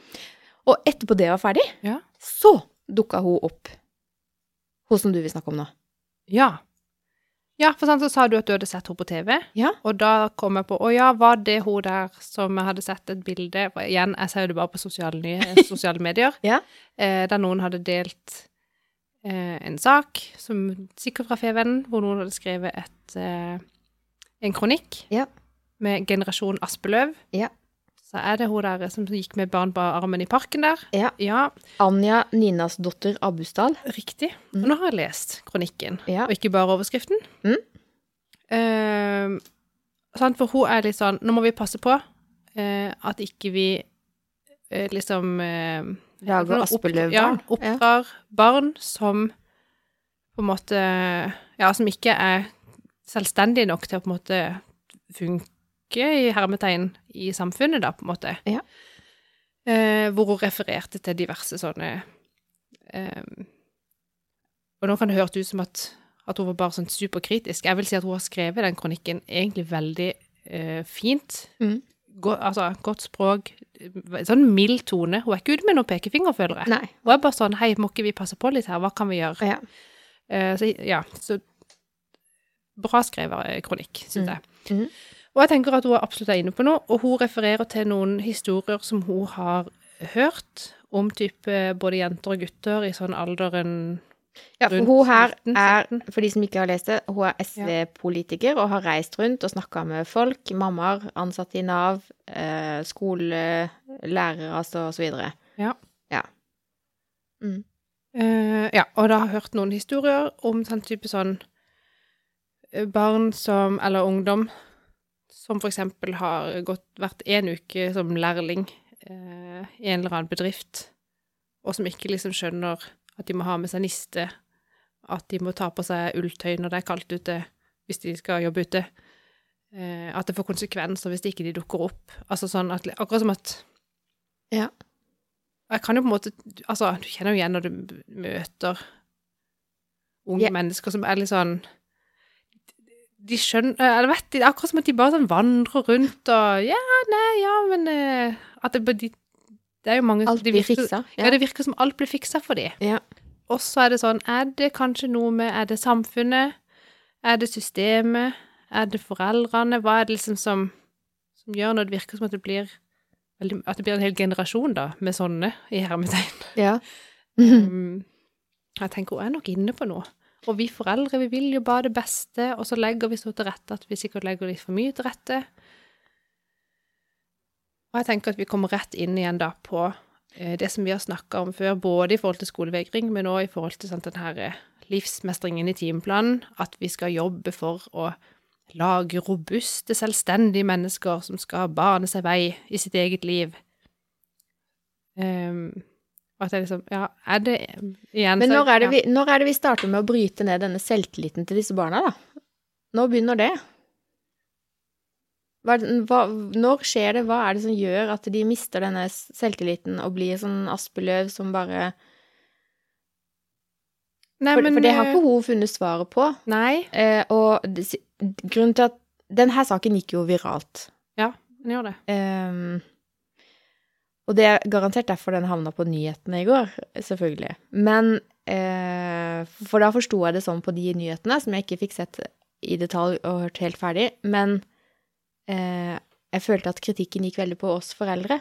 Og etterpå det var ferdig, Ja. så dukka hun opp. Hun som du vil snakke om nå. Ja. Ja, for sånn så sa du at du hadde sett henne på TV. Ja. Og da kom jeg på, å ja, var det hun der som jeg hadde sett et bilde for Igjen, jeg ser jo det bare på sosiale, nye, sosiale medier. Ja. Eh, der noen hadde delt eh, en sak, som sikkert fra Fevennen, hvor noen hadde skrevet et, eh, en kronikk Ja. med generasjon Aspeløv. Ja. Så er det hun der som gikk med barn på armen i parken der. Ja. Ja, Anja Ninasdotter Abusdal. Riktig. Mm. Og nå har jeg lest kronikken, Ja. og ikke bare overskriften. Mm. Eh, sant? For hun er litt sånn Nå må vi passe på eh, at ikke vi eh, liksom eh, Lager opp- Aspeløv-barn. Ja, oppdrar barn som på en måte Ja, som ikke er selvstendige nok til å på en måte funke i hermetegn i samfunnet, da, på en måte. Ja. Eh, hvor hun refererte til diverse sånne eh, Og nå kan det høres ut som at, at hun var bare sånn superkritisk. Jeg vil si at hun har skrevet den kronikken egentlig veldig eh, fint. Mm. Gå- altså, godt språk. Sånn mild tone. Hun er ikke ute med noen pekefinger, føler jeg. Nei. Hun er bare sånn Hei, må ikke vi passe på litt her? Hva kan vi gjøre? Ja. Eh, så ja, så Bra skrevet eh, kronikk, syns Mm. jeg. Mhm. Og jeg tenker at hun absolutt er inne på noe, og hun refererer til noen historier som hun har hørt om type både jenter og gutter i sånn alderen Ja, for Rundt hun her 19, er, 17. for de som ikke har lest det, hun er SV-politiker og har reist rundt og snakka med folk, mammaer, ansatte i Nav, eh, skole, lærere altså, og så videre. Ja. Ja. Mm. Eh, ja, og da har jeg hørt noen historier om sånn type sånn eh, barn som, eller ungdom, som for eksempel har gått, vært en uke som lærling eh, i en eller annen bedrift, og som ikke liksom skjønner at de må ha med seg niste, at de må ta på seg ulltøy når det er kaldt ute, hvis de skal jobbe ute, eh, at det får konsekvenser hvis ikke de dukker opp. Altså sånn at, akkurat som at Ja. Og Jeg kan jo på en måte Altså, du kjenner jo igjen når du m- møter unge Ja. mennesker som er litt sånn De skjønner eh, Eller vet de, det er akkurat som at de bare sånn vandrer rundt og Ja, nei, ja, men eh, At det, bare- de, det er jo mange Alt de blir virker- fiksa. ja. det virker som alt blir fiksa for dem. Ja. Og så er det sånn, er det kanskje noe med, er det samfunnet, er det systemet, er det foreldrene, hva er det liksom som, som gjør når det virker som at det blir, veldig- at det blir en hel generasjon da, med sånne i hermetegn. Mm. ja. Um, jeg tenker hun er nok inne på noe. Og vi foreldre vi vil jo bare det beste, og så legger vi så til rette at vi sikkert legger litt for mye til rette. Og jeg tenker at vi kommer rett inn igjen da på eh, det som vi har snakka om før, både i forhold til skolevegring, men òg i forhold til sant, den her eh, livsmestringen i timeplanen, at vi skal jobbe for å lage robuste, selvstendige mennesker som skal bane seg vei i sitt eget liv. Ehm, og at jeg liksom Ja, er det igjen Men så- når er, det ja. vi, når er det vi starter med å bryte ned denne selvtilliten til disse barna, da? Når begynner det? Hva, er det- hva, når skjer det? Hva er det som gjør at de mister denne s- selvtilliten og blir sånn aspeløv som bare Nei, For, men, for det har eh, ikke hun funnet svaret på. Nei, Eh, og det si- grunnen til at Denne saken gikk jo viralt. den gjør det. Ehm, og det er garantert derfor den havna på nyhetene i går, selvfølgelig. Men eh, For da forsto jeg det sånn på de nyhetene, som jeg ikke fikk sett i detalj og hørt helt ferdig, men eh, jeg følte at kritikken gikk veldig på oss foreldre.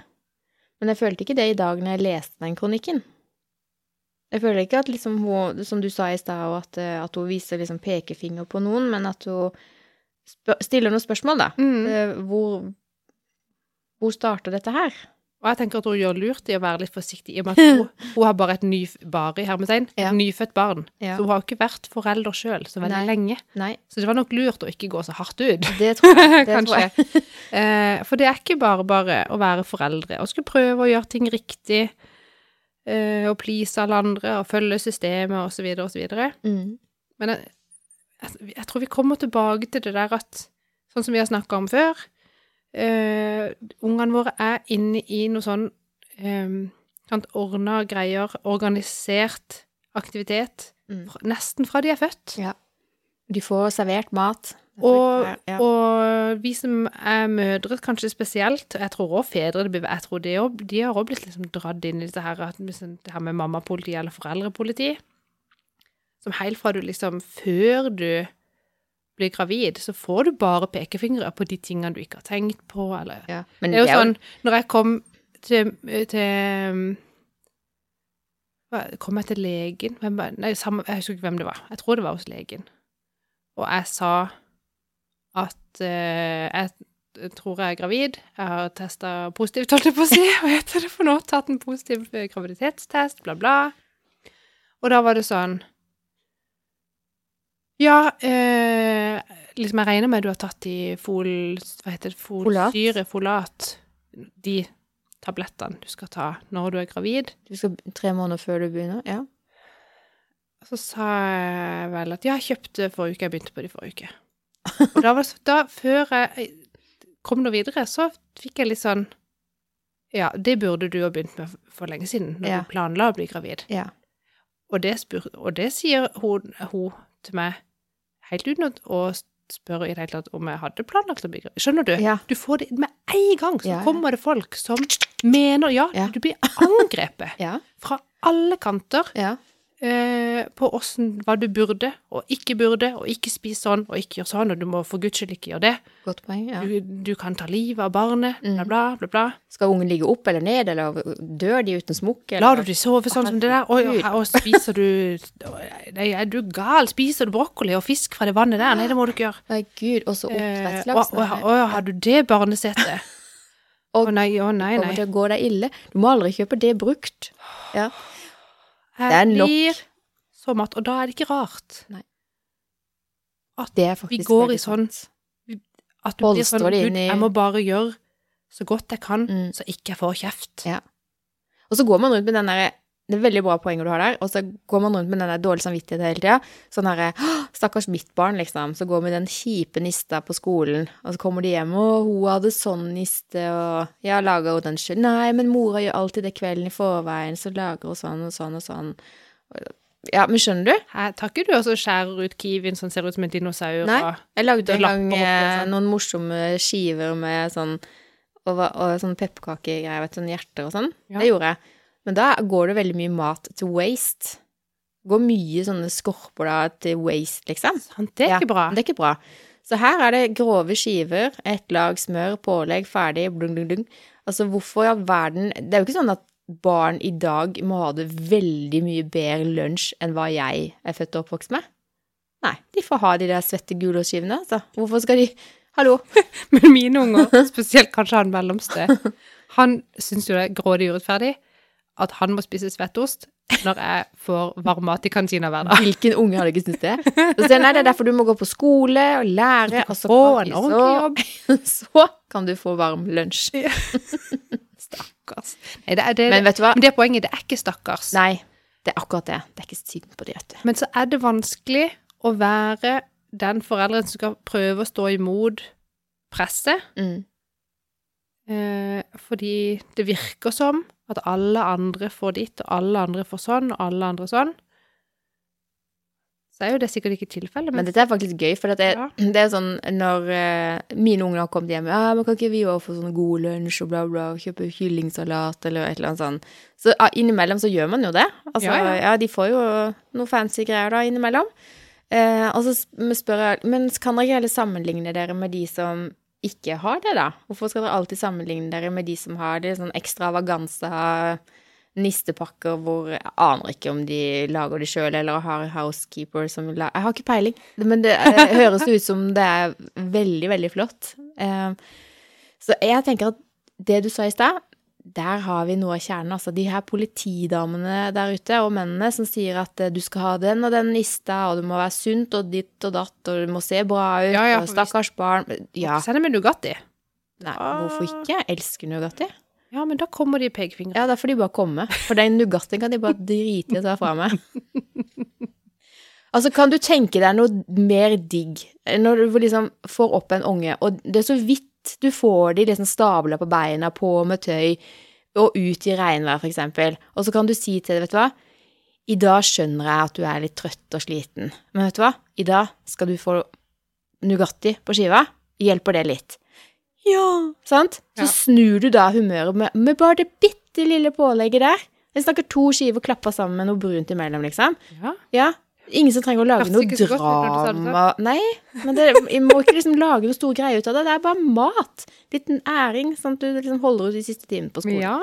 Men jeg følte ikke det i dag når jeg leste den kronikken. Jeg føler ikke at liksom hun, som du sa i stad, og at, eh, at hun viser liksom pekefinger på noen, men at hun spør, stiller noen spørsmål, da. Eh, hvor, hvor starter dette her? Og jeg tenker at hun gjør lurt i å være litt forsiktig, i og med at hun, hun har bare et ny, bare, i hermetegn, Ja. nyfødt barn. Ja. Så hun har jo ikke vært forelder sjøl så veldig Nei. lenge. Nei, Så det var nok lurt å ikke gå så hardt ut. det tror jeg. Det tror jeg. Kanskje. Eh, for det er ikke bare bare å være foreldre og skulle prøve å gjøre ting riktig eh, og please alle andre og følge systemet og så videre og så videre. Mm. Men jeg, jeg, jeg tror vi kommer tilbake til det der at Sånn som vi har snakka om før eh, Ungene våre er inne i noe sånn um, ordna greier, organisert aktivitet, Mm. fra, nesten fra de er født. Ja. De får servert mat. Og, ja. og vi som er mødre, kanskje spesielt, og jeg tror også fedre det blir, jeg tror det også, De har òg blitt liksom dratt inn i dette her, at liksom, det her med mammapoliti eller foreldrepoliti. Som helt fra du liksom Før du blir gravid, så får du bare pekefingre på de tingene du ikke har tenkt på, eller ja. Men det er jo sånn Når jeg kom til, til um, hva- Kom jeg til legen? Hvem var, nei, samme, jeg husker ikke hvem det var. Jeg tror det var hos legen. Og jeg sa at eh, jeg tror jeg er gravid. Jeg har testa positivt, holdt jeg på å si. Hva heter det for noe? Tatt en positiv eh, graviditetstest, bla, bla. Og da var det sånn Ja, eh, liksom jeg regner med du har tatt i fol... Hva heter det? Folat. Folsyre, folat. De tablettene du skal ta når du er gravid. Du skal be- tre måneder før du begynner? Ja. Så sa jeg vel at ja, jeg kjøpte forrige uke, jeg begynte på det i forrige uke. Og da var det så, da, før jeg kom noe videre, så fikk jeg litt sånn Ja, det burde du ha begynt med for lenge siden, når Ja. du planla å bli gravid. ja. Og det, spur, og det sier hun, hun til meg helt uten å- å spørre i det hele tatt om jeg hadde planlagt å bli gravid. Skjønner du? Ja. Du får det med en gang, så Ja, ja. kommer det folk som mener Ja, Ja. du blir angrepet Ja. fra alle kanter ja. eh, på åssen hva du burde og ikke burde, og ikke spis sånn og ikke gjør sånn, og du må for guds skyld ikke gjøre det. Godt poeng. Ja. Du, du kan ta livet av barnet, bla, Mm. bla, bla, bla. Skal ungen ligge opp eller ned, eller dør de uten smokk? Lar du de sove sånn som det der? Oi, Herregud. og, og spiser du Nei, er du gal? Spiser du brokkoli og fisk fra det vannet der? Nei, det må du ikke gjøre. Nei, gud, og så Eh, oppdrettslaks. Å, å, å, har du det barnesettet? Å Og- nei, å nei, Kommer nei. til å gå deg ille. Du må aldri kjøpe det brukt. Ja. Det er Jeg nok. blir så matt. Og da er det ikke rart Det er faktisk vi går i veldig sånn sant. at du blir Polstrer sånn det Gud, inn i- jeg må bare gjøre så godt jeg kan, Mm. så ikke jeg får kjeft. Ja. Og så går man rundt med den derre Det er veldig bra poenger du har der. Og så går man rundt med den der dårlige samvittigheten hele tida. Sånn herre «Åh, Stakkars mitt barn, liksom. Så går vi den kjipe nista på skolen, og så kommer de hjem, og hun hadde sånn niste, og ja, lager hun den sjøl? Nei, men mora gjør alltid det kvelden i forveien, så lager hun sånn og sånn og sånn. Ja, men skjønner du? Her tar ikke du også og skjærer ut kiwien som ser ut som en dinosaur? Nei. og- Det Jeg lagde en lapper gang opp, eh, liksom. noen morsomme skiver med sånn og, hva- og sånn pepperkakegreier, vet du, sånn hjerter og sånn. Ja. Det gjorde jeg. Men da går det veldig mye mat til waste. Går mye sånne skorper da til waste, liksom. Sant, det er Ja, ikke bra. Det er ikke bra. Så her er det grove skiver, et lag smør, pålegg, ferdig, blung, blung, blung. Altså hvorfor i all verden Det er jo ikke sånn at barn i dag må ha det veldig mye bedre lunsj enn hva jeg er født og oppvokst med. Nei, de får ha de der svette gulrotskivene, altså. Hvorfor skal de Hallo. Men mine unger, spesielt kanskje han mellomste, han syns jo det er grådig urettferdig at han må spise svettost når jeg får varm mat i kantina hver dag. Hvilken unge hadde ikke syntes det? Så sier jeg, nei, det er derfor du må gå på skole og lære, og så, Få en kan, ordentlig så, jobb. så kan du få varm lunsj. Stakkars. Nei, det er det, Men men, vet du hva? det er poenget, det er ikke stakkars. Nei, det er akkurat det. Det er ikke synd på det, vet du. Men så er det vanskelig å være den forelderen som skal prøve å stå imot presset, Mm. eh, fordi det virker som at alle andre får ditt, og alle andre får sånn, og alle andre sånn. Så er jo det sikkert ikke tilfellet, men, Men dette er faktisk litt gøy, for at det, Ja. det er sånn når eh, mine unger har kommet hjem ja, men 'Kan ikke vi også få sånn god lunsj og bla, bla, og kjøpe kyllingsalat?' eller et eller annet sånt. Så ja, innimellom så gjør man jo det. Altså, Ja, ja, ja. de får jo noe fancy greier da innimellom. Eh, og så sp- spør jeg Men kan dere ikke heller sammenligne dere med de som ikke har det, da? Hvorfor skal dere alltid sammenligne dere med de som har det? Sånn ekstravaganza, nistepakker hvor Jeg aner ikke om de lager det sjøl, eller har housekeeper som lager Jeg har ikke peiling. Men det eh, høres ut som det er veldig, veldig flott. Eh, så jeg tenker at det du sa i stad, der har vi noe av kjernen. Altså de her politidamene der ute, og mennene, som sier at eh, du skal ha den og den lista, og det må være sunt og ditt og datt, og du må se bra ut, Ja, ja, og for hvis- stakkars barn Ja, send dem en Nugatti. nei, hvorfor ikke? Jeg elsker Nugatti. Ja, men da kommer de pekefingre. Ja, da får de bare komme. For den Nugatten kan de bare drite i å ta fra meg. Altså, kan du tenke deg noe mer digg? Når du liksom får opp en unge, og det er så vidt du får de liksom stabla på beina, på med tøy, og ut i regnvær, for eksempel. Og så kan du si til det, vet du hva? I dag skjønner jeg at du er litt trøtt og sliten, men vet du hva? I dag skal du få Nugatti på skiva. Hjelper det litt? Ja. Sant? Så Ja. snur du da humøret med, med bare det bitte lille pålegget der. Jeg snakker to skiver klappa sammen med noe brunt imellom, liksom. Ja. Ja. Ingen som trenger å lage Hørtes noe ikke så godt ut når du sa det drama. Nei, men det, jeg må ikke liksom lage noe stor greie ut av det. Det er bare mat. Liten æring, sånn at du liksom holder ut de siste timene på skolen. Ja.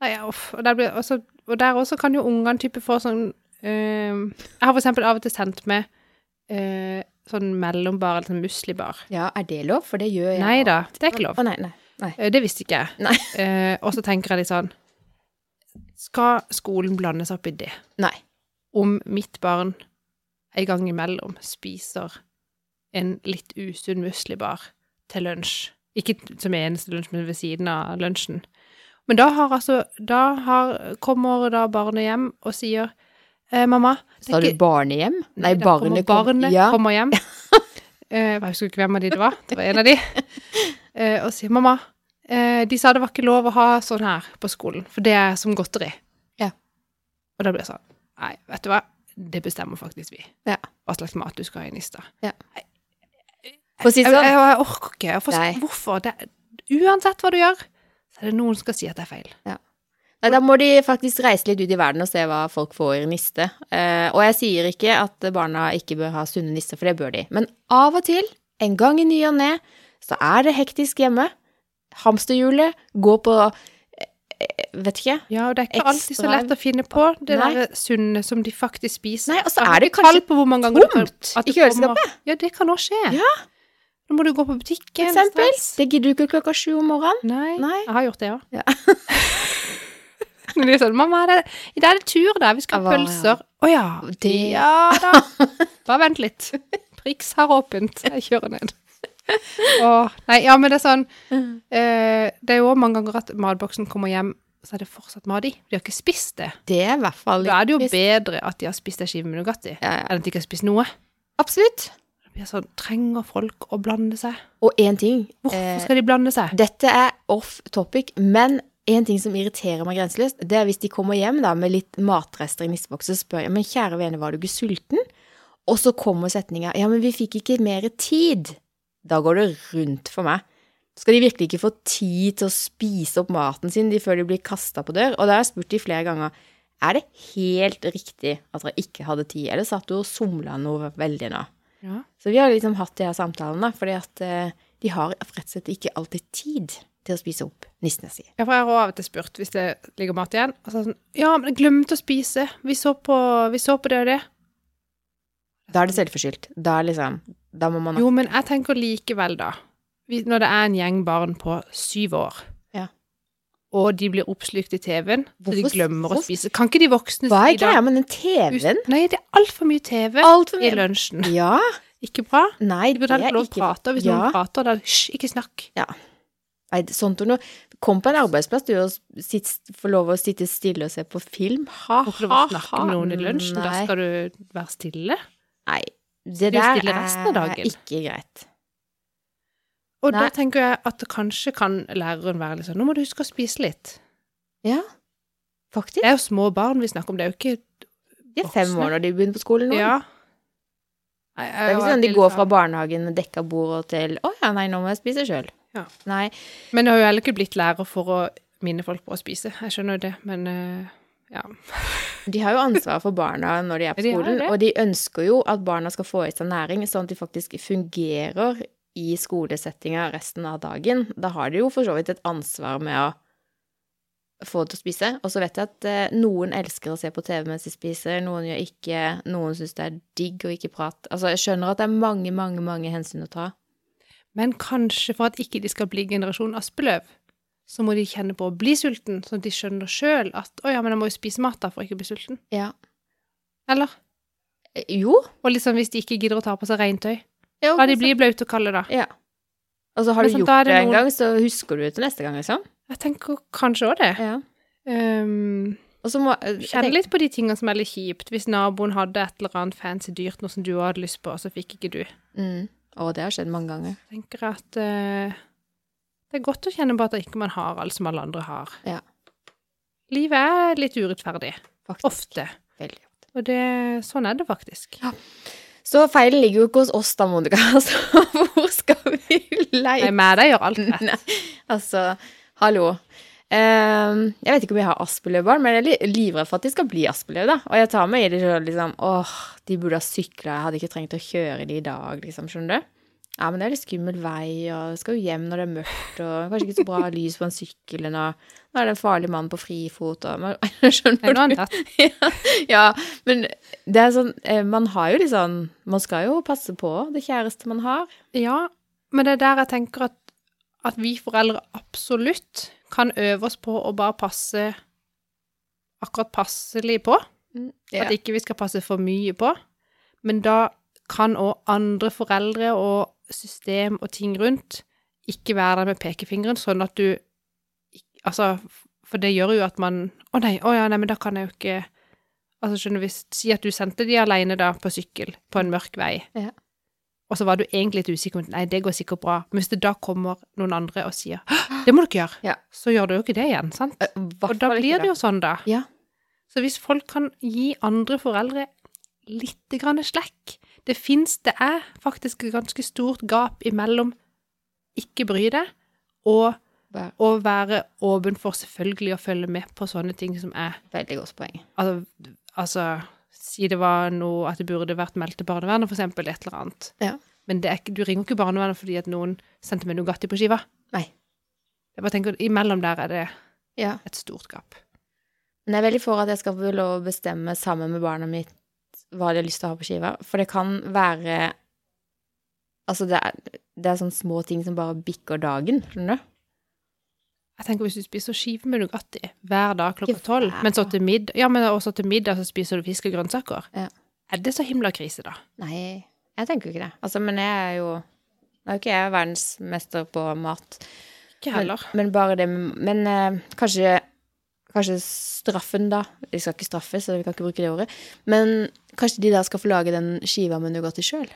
Nei, ja, uff. Og der, blir, også, og der også kan jo ungene type få sånn eh, Jeg har for eksempel av og til sendt med eh, sånn mellombar eller sånn muslibar. Ja, er det lov? For det gjør jeg. Nei da, det er ikke lov. Å, nei, nei. nei. Eh, Det visste ikke jeg. Nei. Eh, og så tenker jeg litt sånn Skal skolen blandes opp i det? Nei. Om mitt barn en gang imellom spiser en litt usunn muslibar til lunsj Ikke som eneste lunsj, men ved siden av lunsjen. Men da har altså Da har, kommer da barnet hjem og sier eh, 'Mamma, det Sa er du ikke- barnehjem? Nei, da barnet kommer, barnet ja. kommer hjem. Eh, jeg husker ikke hvem av de det var. Det var en av de. Eh, og sier 'mamma, eh, de sa det var ikke lov å ha sånn her på skolen, for det er som godteri'. Ja. Og da blir jeg sånn Nei, vet du hva, det bestemmer faktisk vi. Ja. Hva slags mat du skal ha i nista. For å si Jeg, det jeg, sånn. jeg orker ikke. Jeg Nei. forstår, hvorfor? Det, uansett hva du gjør, så er det noen som skal si at det er feil. Nei, da må de faktisk reise litt ut i verden og se hva folk får i niste. Eh, og jeg sier ikke at barna ikke bør ha sunne nister, for det bør de. Men av og til, en gang i ny og ne, så er det hektisk hjemme. Hamsterhjulet, gå på eh, eh, Vet ikke. Ja, og det er ikke alltid så Ekstra- lett å finne på det Nei. der eh, sunne som de faktisk spiser. Nei, og så Jeg har er det tall kanskje på hvor mange ganger du kan- at tomt i det kommer- kjøleskapet. Ja, det kan også skje. Ja. Nå må du gå på For butikken. eksempel. straks. Det gidder du ikke klokka sju om morgenen. Nei, Nei. jeg har gjort det, ja. Ja. Men det er sånn, mamma, det, i dag er det tur der, vi skal ha Ja, hva, ja. pølser. Å ja. Det- Ja da. Bare vent litt. Prix har åpent. Jeg kjører ned. Åh, nei, ja, men det er sånn, eh, det er jo også mange ganger at matboksen kommer hjem, så er det fortsatt mat i. De har ikke spist det. Det er i hvert fall Da er det jo trist. bedre at de har spist ei skive med Nugatti, Ja, ja. enn at de ikke har spist noe. Absolutt. Det blir sånn, Trenger folk å blande seg? Og én ting. Hvorfor eh, skal de blande seg? Dette er off topic, men en ting som irriterer meg grenseløst, det er hvis de kommer hjem da, med litt matrester i nisseboks, så spør jeg men kjære vene, var du ikke sulten? Og så kommer setninga ja, men vi fikk ikke mer tid. Da går det rundt for meg. Skal de virkelig ikke få tid til å spise opp maten sin de før de blir kasta på dør? Og da har jeg spurt de flere ganger er det helt riktig at dere ikke hadde tid, eller satt du og somla noe veldig nå? Ja. Så vi har liksom hatt de her samtalene, fordi at eh, de har rett og slett ikke alltid tid til å spise opp nissene sine. Ja, for Jeg har også av og til spurt hvis det ligger mat igjen. Og så er det sånn Ja, men jeg glemte å spise. Vi så på, vi så på det og det. Da er det selvforskyldt. Da er liksom Da må man Jo, men jeg tenker likevel, da. vi- Når det er en gjeng barn på syv år, Ja. og de blir oppslukt i TV-en, så de Hvorfor- glemmer å hvorfor- spise Kan ikke de voksne Hva er da- greia med den Us- TV-en? Nei, det er altfor mye TV Altfor i mye lunsjen. Ja. Ikke bra. Nei, De burde ha lov å prate, og hvis Ja. noen prater, da hysj, ikke snakk. Nei, sånn det- sånt noe. Kom på en arbeidsplass, du, og sitt, får lov å sitte stille og se på film. Ha, Får ikke lov å ha, snakke ha. med noen i lunsjen, da Nei. skal du være stille. Nei. blir Det jo der stille resten av er dagen. ikke greit. Og da Nei. tenker jeg at det kanskje kan læreren være litt sånn, nå må du huske å spise litt. Ja, faktisk. Det er jo små barn vi snakker om, det er jo ikke... De er fem voksne. år når de begynner på skolen nå. Ja. Nei, Det er jeg- ikke sånn at de jeg- går fra barnehagen med dekka bord og til 'Å ja, nei, nå må jeg spise sjøl'. Ja. Nei. Men jeg har jo heller ikke blitt lærer for å minne folk på å spise, jeg skjønner jo det, men... eh, ja. De har jo ansvar for barna når de er på De har skolen, det. og de ønsker jo at barna skal få i seg næring, sånn at de faktisk fungerer i skolesettinga resten av dagen. Da har de jo for så vidt et ansvar med å få det til å spise. Og så vet jeg at eh, noen elsker å se på TV mens de spiser, noen gjør ikke, noen syns det er digg å ikke prate. Altså, jeg skjønner at det er mange, mange, mange hensyn å ta. Men kanskje for at ikke de skal bli generasjon Aspeløv, så må de kjenne på å bli sulten, sånn at de skjønner sjøl at 'å ja, men jeg må jo spise mat da for ikke å bli sulten'. Ja. Eller? Eh, Jo. Og liksom hvis de ikke gidder å ta på seg regntøy, jo la de bli blaute og kalde da. Ja. Og så har Men du sånn, gjort da er det det en noen- gang, så husker du det til neste gang, liksom. Jeg tenker kanskje òg det. Um, Og så må Kjenn litt på de tingene som er litt kjipt. Hvis naboen hadde et eller annet fancy dyrt, noe som du også hadde lyst på, og så fikk ikke du. Mm. Å, det har skjedd mange ganger. Jeg tenker at eh, det er godt å kjenne på at ikke man har alt som alle andre har. Ja. Livet er litt urettferdig. Faktisk. Ofte. Veldig ofte. Og det, sånn er det faktisk. Så feilen ligger jo ikke hos oss, da, Monica. Altså, hvor skal vi Nei, leie med deg gjør alt rett. Nei, altså, hallo. Ehm, jeg vet ikke om jeg har Aspeløv-barn, men jeg er li- livredd for at de skal bli Aspeløv, da. Og jeg tar meg i det selv, liksom. Åh, de burde ha sykla, jeg hadde ikke trengt å kjøre de i dag, liksom. Skjønner du? Ja, men det er litt skummel vei, og jeg skal jo hjem når det er mørkt, og kanskje ikke så bra lys på en sykkel, og nå er det en farlig mann på frifot, og men- Nei, nå Skjønner har du? han tatt. ja, ja, men det er sånn eh, Man har jo litt sånn Man skal jo passe på det kjæreste man har. Ja, men det er der jeg tenker at, at vi foreldre absolutt kan øve oss på å bare passe akkurat passelig på. Mm, At ikke vi skal passe for mye på. Men da kan òg andre foreldre og system og ting rundt ikke være der med pekefingeren, sånn at du ikk- Altså, for det gjør jo at man Å nei, å ja, nei, men da kan jeg jo ikke Altså, skjønner vi Si at du sendte de alene da på sykkel på en mørk vei. Ja. Og så var du egentlig litt usikker på Nei, det går sikkert bra. Men hvis det da kommer noen andre og sier «Hå, Det må du ikke gjøre. Ja. Så gjør du jo ikke det igjen, sant? Eh, hvert Og da fall ikke blir det jo sånn, da. Ja. Så hvis folk kan gi andre foreldre litt grann slekk Det fins, det er faktisk et ganske stort gap imellom ikke bry deg og Vær- å være åpen for selvfølgelig å følge med på sånne ting som er Veldig godt poeng. Altså, altså si det var noe at det burde vært meldt til barnevernet, for eksempel, et eller annet. Ja. Men det er, ikke- du ringer ikke barnevernet fordi at noen sendte meg Nugatti på skiva. Nei. Jeg bare tenker, Imellom der er det Ja. et stort gap. Men jeg er veldig for at jeg skal få lov å bestemme sammen med barna mitt hva de har lyst til å ha på skiva. For det kan være Altså, det er, det er sånne små ting som bare bikker dagen, skjønner du? Jeg tenker hvis du spiser skive med Nugatti hver dag klokka Ikke tolv, hver men så til middag, ja, men også til middag så spiser du fisk og grønnsaker, Ja. er det så himla krise, da? Nei, jeg tenker jo ikke det. Altså, men jeg er jo Nå er jo ikke jeg verdensmester på mat. Ikke Men, heller. men bare det Men eh, kanskje Kanskje straffen, da. De skal ikke straffes, så vi kan ikke bruke det ordet. Men kanskje de da skal få lage den skiva med Nugatti sjøl?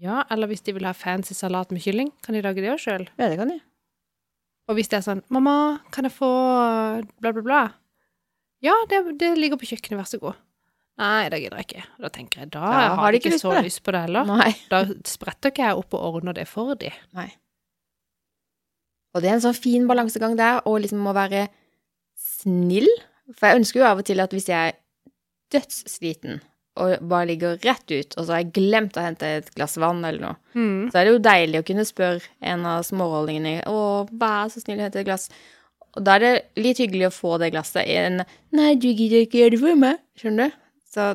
Ja, eller hvis de vil ha fancy salat med kylling, kan de lage det òg sjøl. Ja, det kan de. Og hvis det er sånn 'Mamma, kan jeg få bla, bla, bla?' Ja, det, det ligger på kjøkkenet, vær så god. Nei, det gidder jeg ikke. Og Da tenker jeg da, jeg har de ikke lyst så på det. lyst på det heller. Nei. Da spretter ikke jeg opp og ordner det for de. Nei. Og det er en sånn fin balansegang der, og liksom å være snill. For jeg ønsker jo av og til at hvis jeg er dødssliten og bare ligger rett ut, og så har jeg glemt å hente et glass vann eller noe, så er det jo deilig å kunne spørre en av smårollingene å, vær så snill, hent et glass. Og da er det litt hyggelig å få det glasset i en Nei, du gidder ikke gjøre det for meg. Skjønner du? Så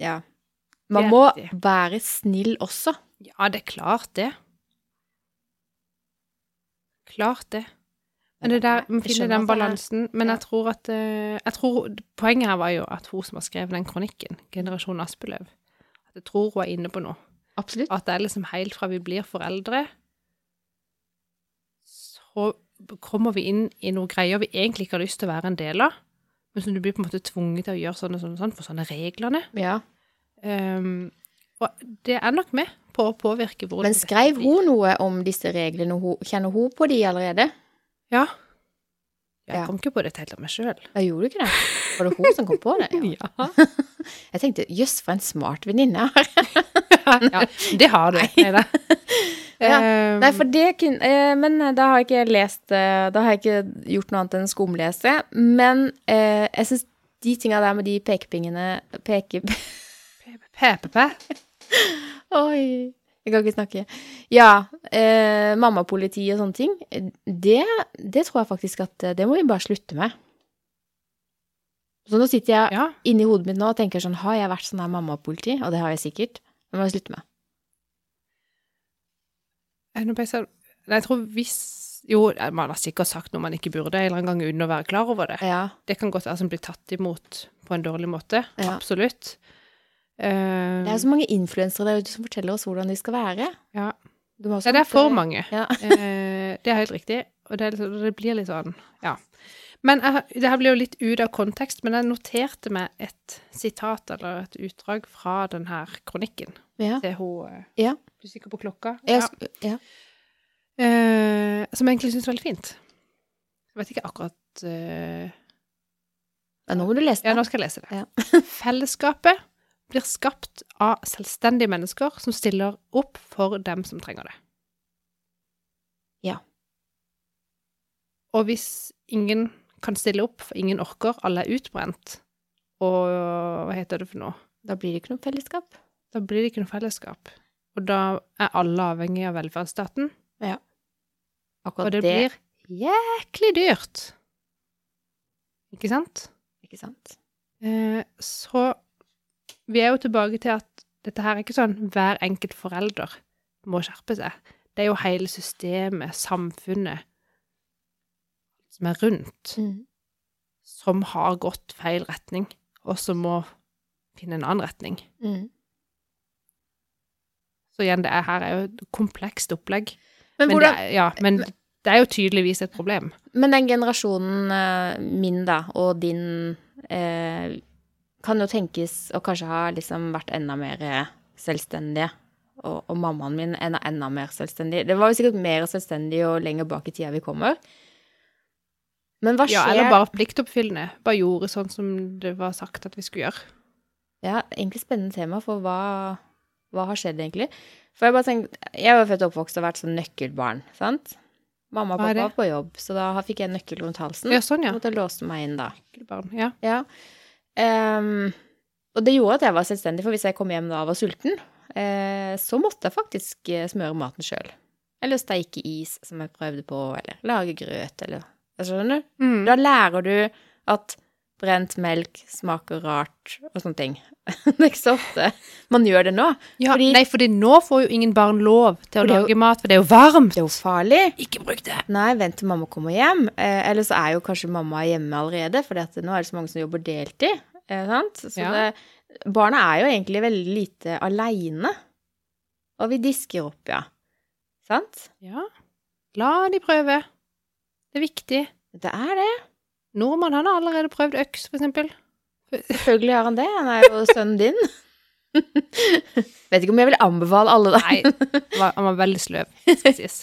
ja. Det Man er må riktig. være snill også. Ja, det er klart det. Klart det. Men det der, vi Jeg finner skjønner den at det er- balansen. Men ja. jeg tror at eh, jeg tror, Poenget her var jo at hun som har skrevet den kronikken, 'Generasjon Aspeløv', at jeg tror hun er inne på noe. Absolutt. At det er liksom helt fra vi blir foreldre, så kommer vi inn i noen greier vi egentlig ikke har lyst til å være en del av, men som du blir på en måte tvunget til å gjøre sånn og sånn, og sånn for sånne reglene. Ja. Ehm, og det er nok med på å påvirke hvordan Men dette skrev blir. hun noe om disse reglene? Hun, kjenner hun på de allerede? Ja. Jeg Ja. kom ikke på dette helt av meg sjøl. Jeg gjorde ikke det. Var det hun som kom på det? Ja. Jeg tenkte jøss, for en smart venninne jeg har. ja. Det har du. Neida. Ja. Ehm, Nei, for det kun, eh, Men da har jeg ikke lest eh, Da har jeg ikke gjort noe annet enn skumlese. Men eh, jeg syns de tinga der med de pekepingene peke, PPP. Oi. Jeg kan ikke snakke. Ja. Eh, Mammapoliti og sånne ting. eh, Det, det tror jeg faktisk at eh, Det må vi bare slutte med. Så nå sitter jeg Ja. inni hodet mitt nå og tenker sånn Har jeg vært sånn her mammapoliti? Og det har jeg sikkert. Det må jeg slutte med. Eh, Nå ble jeg så- Nei, jeg tror hvis Jo, eh, man har sikkert sagt noe man ikke burde en eller annen gang uten å være klar over det. Ja. Det kan godt være som blir tatt imot på en dårlig måte. Ja. Absolutt. Ehm, Det er så mange influensere der ute som forteller oss hvordan de skal være. sånn Ja. Du må også- Nei, det er for mange. Ja. Eh, det er helt riktig. Og det, er liksom, det blir litt sånn, ja. Men jeg, har- det her blir jo litt ut av kontekst, men jeg noterte meg et sitat eller et utdrag fra den her kronikken. Ja. Det hun eh, Ja. Du er sikker på klokka? Jeg, sk- ja. Eh, som jeg egentlig syns er veldig fint. Jeg vet ikke akkurat eh, ja, nå må du lese Ja, det. nå skal jeg lese det. Ja. Fellesskapet blir skapt av selvstendige mennesker som stiller opp for dem som trenger det. Ja. Og hvis ingen kan stille opp, for ingen orker, alle er utbrent, og hva heter det for noe? Da blir det ikke noe fellesskap. Da blir det ikke noe fellesskap. Og da er alle avhengig av velferdsstaten, og Akkurat det, blir jæklig dyrt. Ikke sant? Ikke sant? Eh, så vi er jo tilbake til at dette her er ikke sånn hver enkelt forelder må skjerpe seg. Det er jo hele systemet, samfunnet, som er rundt, Mm, som har gått feil retning, og som må finne en annen retning. mm. Så igjen, det er, her er jo et komplekst opplegg. Men, Men, hvordan, det, er, ja, men det er jo tydeligvis et problem. men den generasjonen eh, min, da, og din, eh, kan jo tenkes å kanskje ha liksom vært enda mer eh, selvstendige. Og, og mammaen min enda, enda mer selvstendig. Det var jo sikkert mer selvstendig jo lenger bak i tida vi kommer. Men hva Ja, skjer eller bare pliktoppfyllende. Bare gjorde sånn som det var sagt at vi skulle gjøre. Ja, egentlig spennende tema, for hva, hva har skjedd egentlig? For jeg bare tenkte, jeg var født og oppvokst og vært sånn nøkkelbarn, sant? Mamma og Hva er pappa var på jobb, så da fikk jeg en nøkkel rundt halsen. Ja, sånn, ja. Måtte låse meg inn da. Barn, ja. Ja. Ehm, og det gjorde at jeg var selvstendig, for hvis jeg kom hjem da og var sulten, eh, så måtte jeg faktisk eh, smøre maten sjøl. Eller steike is, som jeg prøvde på, eller lage grøt, eller Jeg skjønner? Mm. Da lærer du at brent melk smaker rart og sånne ting. Det er ikke så ofte man gjør det nå. Ja, Fordi- Nei, fordi nå får jo ingen barn lov til å For det er jo- lage mat, for det er jo varmt. Det er jo farlig. Ikke bruk det. Nei, vent til mamma kommer hjem. Eh, eller så er jo kanskje mamma hjemme allerede, for nå er det så mange som jobber deltid. Eh, sant? Så Ja. det, barna er jo egentlig veldig lite aleine. Og vi disker opp, ja. Sant? Ja. La de prøve. Det er viktig. Det er det. Nordmann han har allerede prøvd øks, for eksempel. Selvfølgelig har han det. Han er jo sønnen din. Vet ikke om jeg vil anbefale alle, da. Nei, han var- han var veldig sløv, skal sies.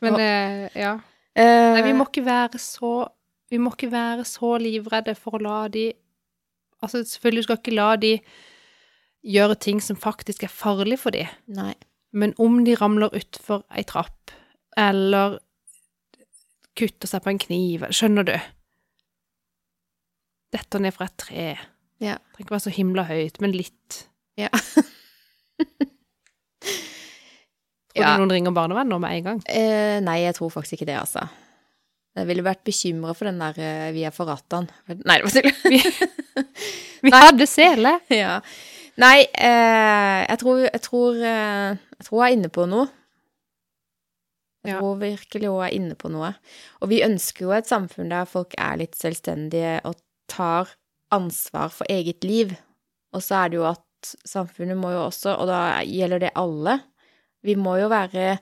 Men eh, ja. Eh, Nei, vi må ikke være så Vi må ikke være så livredde for å la de Altså, selvfølgelig skal ikke la de gjøre ting som faktisk er farlig for de. Eh, nei. Men om de ramler utfor ei trapp, eller kutter seg på en kniv, skjønner du? Detter ned fra et tre. Ja. Trenger ikke være så himla høyt, men litt. Ja. Tror Ja. du noen ringer barnevernet nå med en gang? Eh, nei, jeg tror faktisk ikke det, altså. Jeg ville vært bekymra for den der eh, 'vi er for rattan'. Nei, det var tull. Vi hadde sele! ja. Nei, eh, jeg tror jeg tror, eh, jeg tror jeg er inne på noe. Jeg Ja. tror virkelig hun er inne på noe. Og vi ønsker jo et samfunn der folk er litt selvstendige og tar ansvar for eget liv. Og så er det jo at samfunnet må jo også, og da gjelder det alle, vi må jo være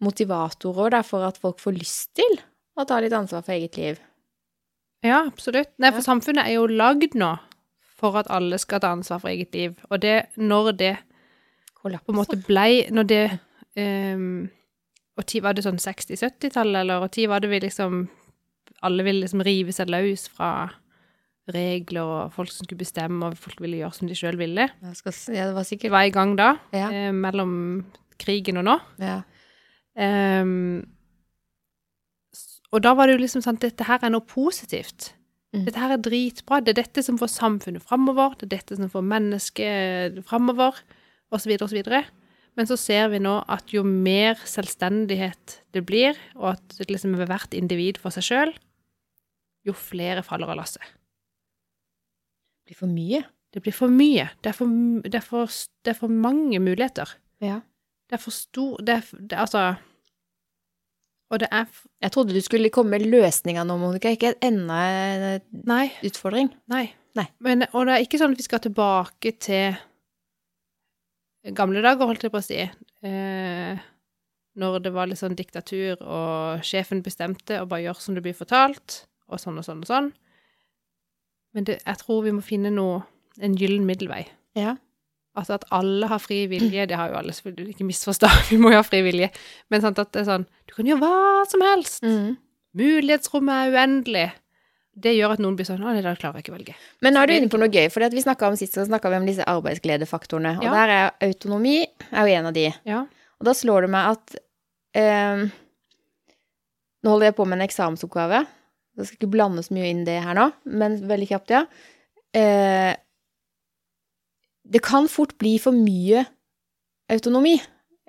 motivatorer da, for at folk får lyst til å ta litt ansvar for eget liv. Ja, absolutt. Nei, for Ja. samfunnet er jo lagd nå for at alle skal ta ansvar for eget liv. Og det, når det på en måte blei Når det ehm, Og tid var det sånn 60-70-tallet, eller og tid var det vi liksom Alle ville liksom rive seg løs fra regler og folk som skulle bestemme, og folk ville gjøre som de sjøl ville. Jeg skal si- Ja, det var Det sikkert var i gang da, Ja. eh, mellom krigen og nå. ja. Ehm, s- og da var det jo liksom sånn Dette her er noe positivt. Mm. Dette her er dritbra. Det er dette som får samfunnet framover. Det er dette som får mennesket framover, osv., osv. Men så ser vi nå at jo mer selvstendighet det blir, og at det liksom er hvert individ for seg sjøl, jo flere faller av lasset. Det blir for mye. Det blir for mye. Det er for, m- det er for, s- det er for mange muligheter. Ja. Det er for stor Det er, f- det, er altså Og det er f- Jeg trodde du skulle komme med løsninger nå, Monica, ikke enda en Nei. utfordring. Nei. Nei. Men, og det er ikke sånn at vi skal tilbake til gamle dager, holdt jeg på å si. Eh, når det var litt sånn diktatur, og sjefen bestemte og bare gjør som det blir fortalt, og sånn og sånn og sånn. Men det, jeg tror vi må finne noe, en gyllen middelvei. Ja. Altså at alle har fri vilje, det har jo alle selvfølgelig ikke misforstå, vi må jo ha fri vilje. Men sant at det er sånn, du kan gjøre hva som helst. Mm. Mulighetsrommet er uendelig. Det gjør at noen blir sånn, å nei, da klarer jeg ikke å velge. Men nå er du inne på noe gøy, for vi snakket om sist så snakket vi om disse arbeidsgledefaktorene. Og Ja. der er autonomi er jo en av de. Ja. Og da slår det meg at ehm, Nå holder jeg på med en eksamensoppgave. Jeg skal ikke blande så mye inn det her nå, men veldig kjapt, ja. Eh, det kan fort bli for mye autonomi.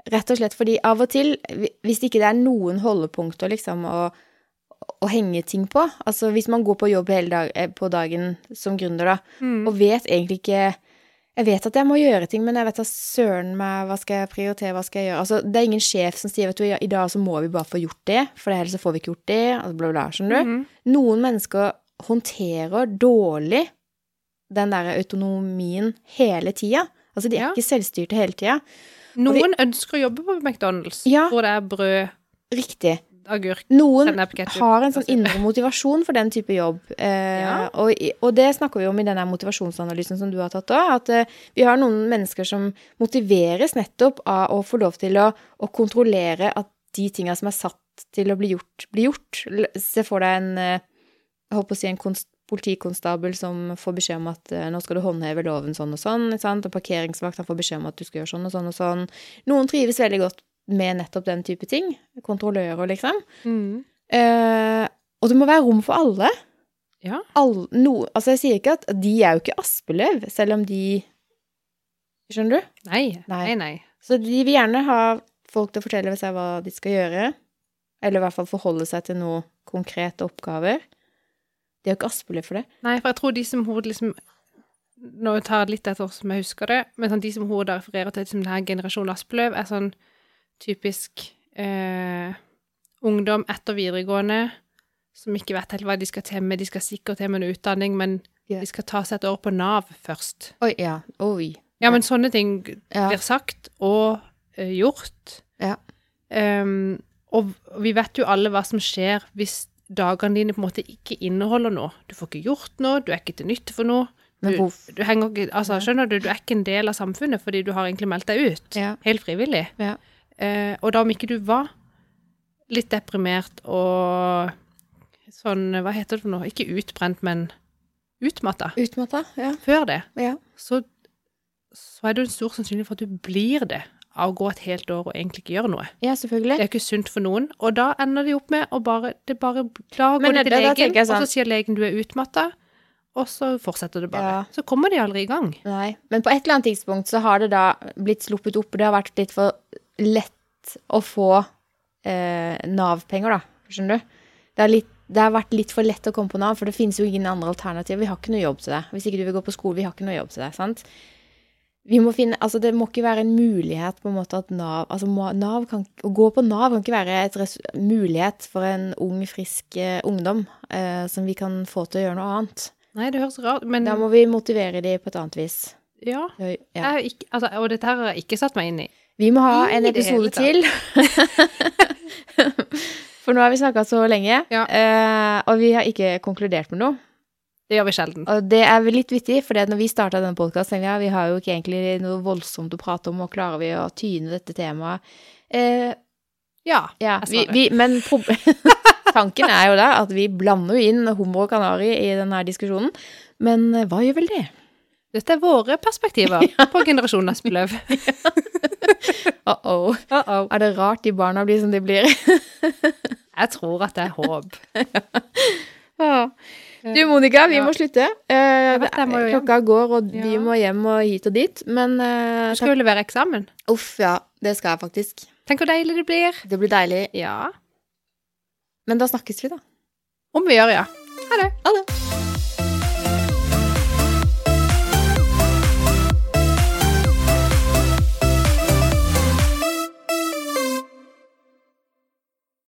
Rett og slett fordi av og til, hvi- hvis ikke det er noen holdepunkter liksom, å, å henge ting på Altså hvis man går på jobb hele dag, eh, på dagen som gründer, da, Mm. og vet egentlig ikke Jeg vet at jeg må gjøre ting, men jeg vet da søren meg hva skal jeg prioritere, hva skal jeg gjøre Altså, det er ingen sjef som sier at du, i dag så må vi bare få gjort det, for ellers så får vi ikke gjort det, altså bla, bla, bla, skjønner du? Mhm. Noen mennesker håndterer dårlig den der autonomien hele tida. Altså, de er Ja. ikke selvstyrte hele tida. Noen ønsker å jobbe på McDonald's, Ja. hvor det er brød, Riktig. agurk, Noen sennep, ketchup. altså. har en og sånn så- indre motivasjon for den type jobb. Eh, Ja. og, i- og det snakker vi om i denne motivasjonsanalysen som du har tatt òg, at eh, vi har noen mennesker som motiveres nettopp av å få lov til å, å kontrollere at de tinga som er satt til å bli gjort, blir gjort. L- Se for deg en eh, jeg holdt på å si en konst, politikonstabel som får beskjed om at eh, nå skal du håndheve loven sånn og sånn, ikke sant? og parkeringsvakta får beskjed om at du skal gjøre sånn og sånn og sånn. Noen trives veldig godt med nettopp den type ting. Kontrollører, liksom. Mm. Eh, og det må være rom for alle. Ja. Alle- no, altså, jeg sier ikke at de er jo ikke Aspeløv, selv om de Skjønner du? Nei, Nei. nei, nei. Så de vil gjerne ha folk til å fortelle seg hva de skal gjøre, eller i hvert fall forholde seg til noen konkrete oppgaver. De er jo ikke Aspeløv for det. Nei, for jeg tror de som hun liksom Nå tar jeg litt etter som jeg husker det, men sånn, de som hun da refererer til som denne generasjonen Aspeløv, er sånn typisk eh, ungdom etter videregående som ikke vet helt hva de skal til med. De skal sikkert til med en utdanning, men Ja. de skal ta seg et år på Nav først. Oi, ja. Oi. Ja, men sånne ting Ja. blir sagt og eh, gjort. Ja. Ehm, og vi vet jo alle hva som skjer hvis dagene dine på en måte ikke inneholder noe. Du får ikke gjort noe, du er ikke til nytte for noe. Men hvorfor Du henger ikke, altså, Ja. skjønner du, du er ikke en del av samfunnet fordi du har egentlig meldt deg ut. Ja. Helt frivillig. Ja. Eh, og da om ikke du var litt deprimert og sånn, hva heter det for noe, ikke utbrent, men utmatta Utmatta? Ja. før det, ja. så, så er det jo en stor sannsynlighet for at du blir det av å gå et helt år og egentlig ikke gjøre noe. Ja, Det selvfølgelig. er jo ikke sunt for noen, og da ender de opp med å bare, det bare Da går Men de det- til da legen, tenker jeg sånn- og så sier legen du er utmatta, og så fortsetter det bare. Ja. Så kommer de aldri i gang. Nei. Men på et eller annet tidspunkt så har det da blitt sluppet opp, og det har vært litt for lett å få eh, Nav-penger, da. Skjønner du? Det, er litt, det har vært litt for lett å komme på Nav, for det finnes jo ingen andre alternativer. Vi har ikke noe jobb til deg. Hvis ikke du vil gå på skole, vi har ikke noe jobb til deg. sant? vi må finne, altså Det må ikke være en mulighet på en måte at Nav altså må- Nav kan, Å gå på Nav kan ikke være et res mulighet for en ung, frisk eh, ungdom eh, som vi kan få til å gjøre noe annet. Nei, det høres rart Men Da må vi motivere dem på et annet vis. ja. Det- Jeg Ja. har ikke, altså, og dette her har jeg ikke satt meg inn i. Vi må ha I en det hele episode tatt. til. For nå har vi snakka så lenge, Ja. eh, og vi har ikke konkludert med noe. Det gjør vi sjelden. Og det er vel litt vittig, for når vi starta denne podkasten, tenkte jeg ja, vi har jo ikke egentlig noe voldsomt å prate om, og klarer vi å tyne dette temaet? Eh, Ja. ja, Jeg sa vi, det. vi, men prob tanken er jo da at vi blander jo inn hummer og kanari i denne diskusjonen. Men eh, hva gjør vel det? Dette er våre perspektiver på generasjonen Aspeløv. Uh-oh. Uh-oh. Er det rart de barna blir som de blir? Jeg tror at det er håp. Ja. Du, Monica, vi Eh, Ja. må slutte. Eh, vet det, jeg må jo hjem. klokka går, og vi Ja. må hjem og hit og dit. Men eh, Du skal jo levere eksamen. takk- uff, ja. Det skal jeg faktisk. Tenk hvor deilig det blir. Det blir deilig. Ja. Men da snakkes vi, da. Om vi gjør, ja. Ha det. Ha det.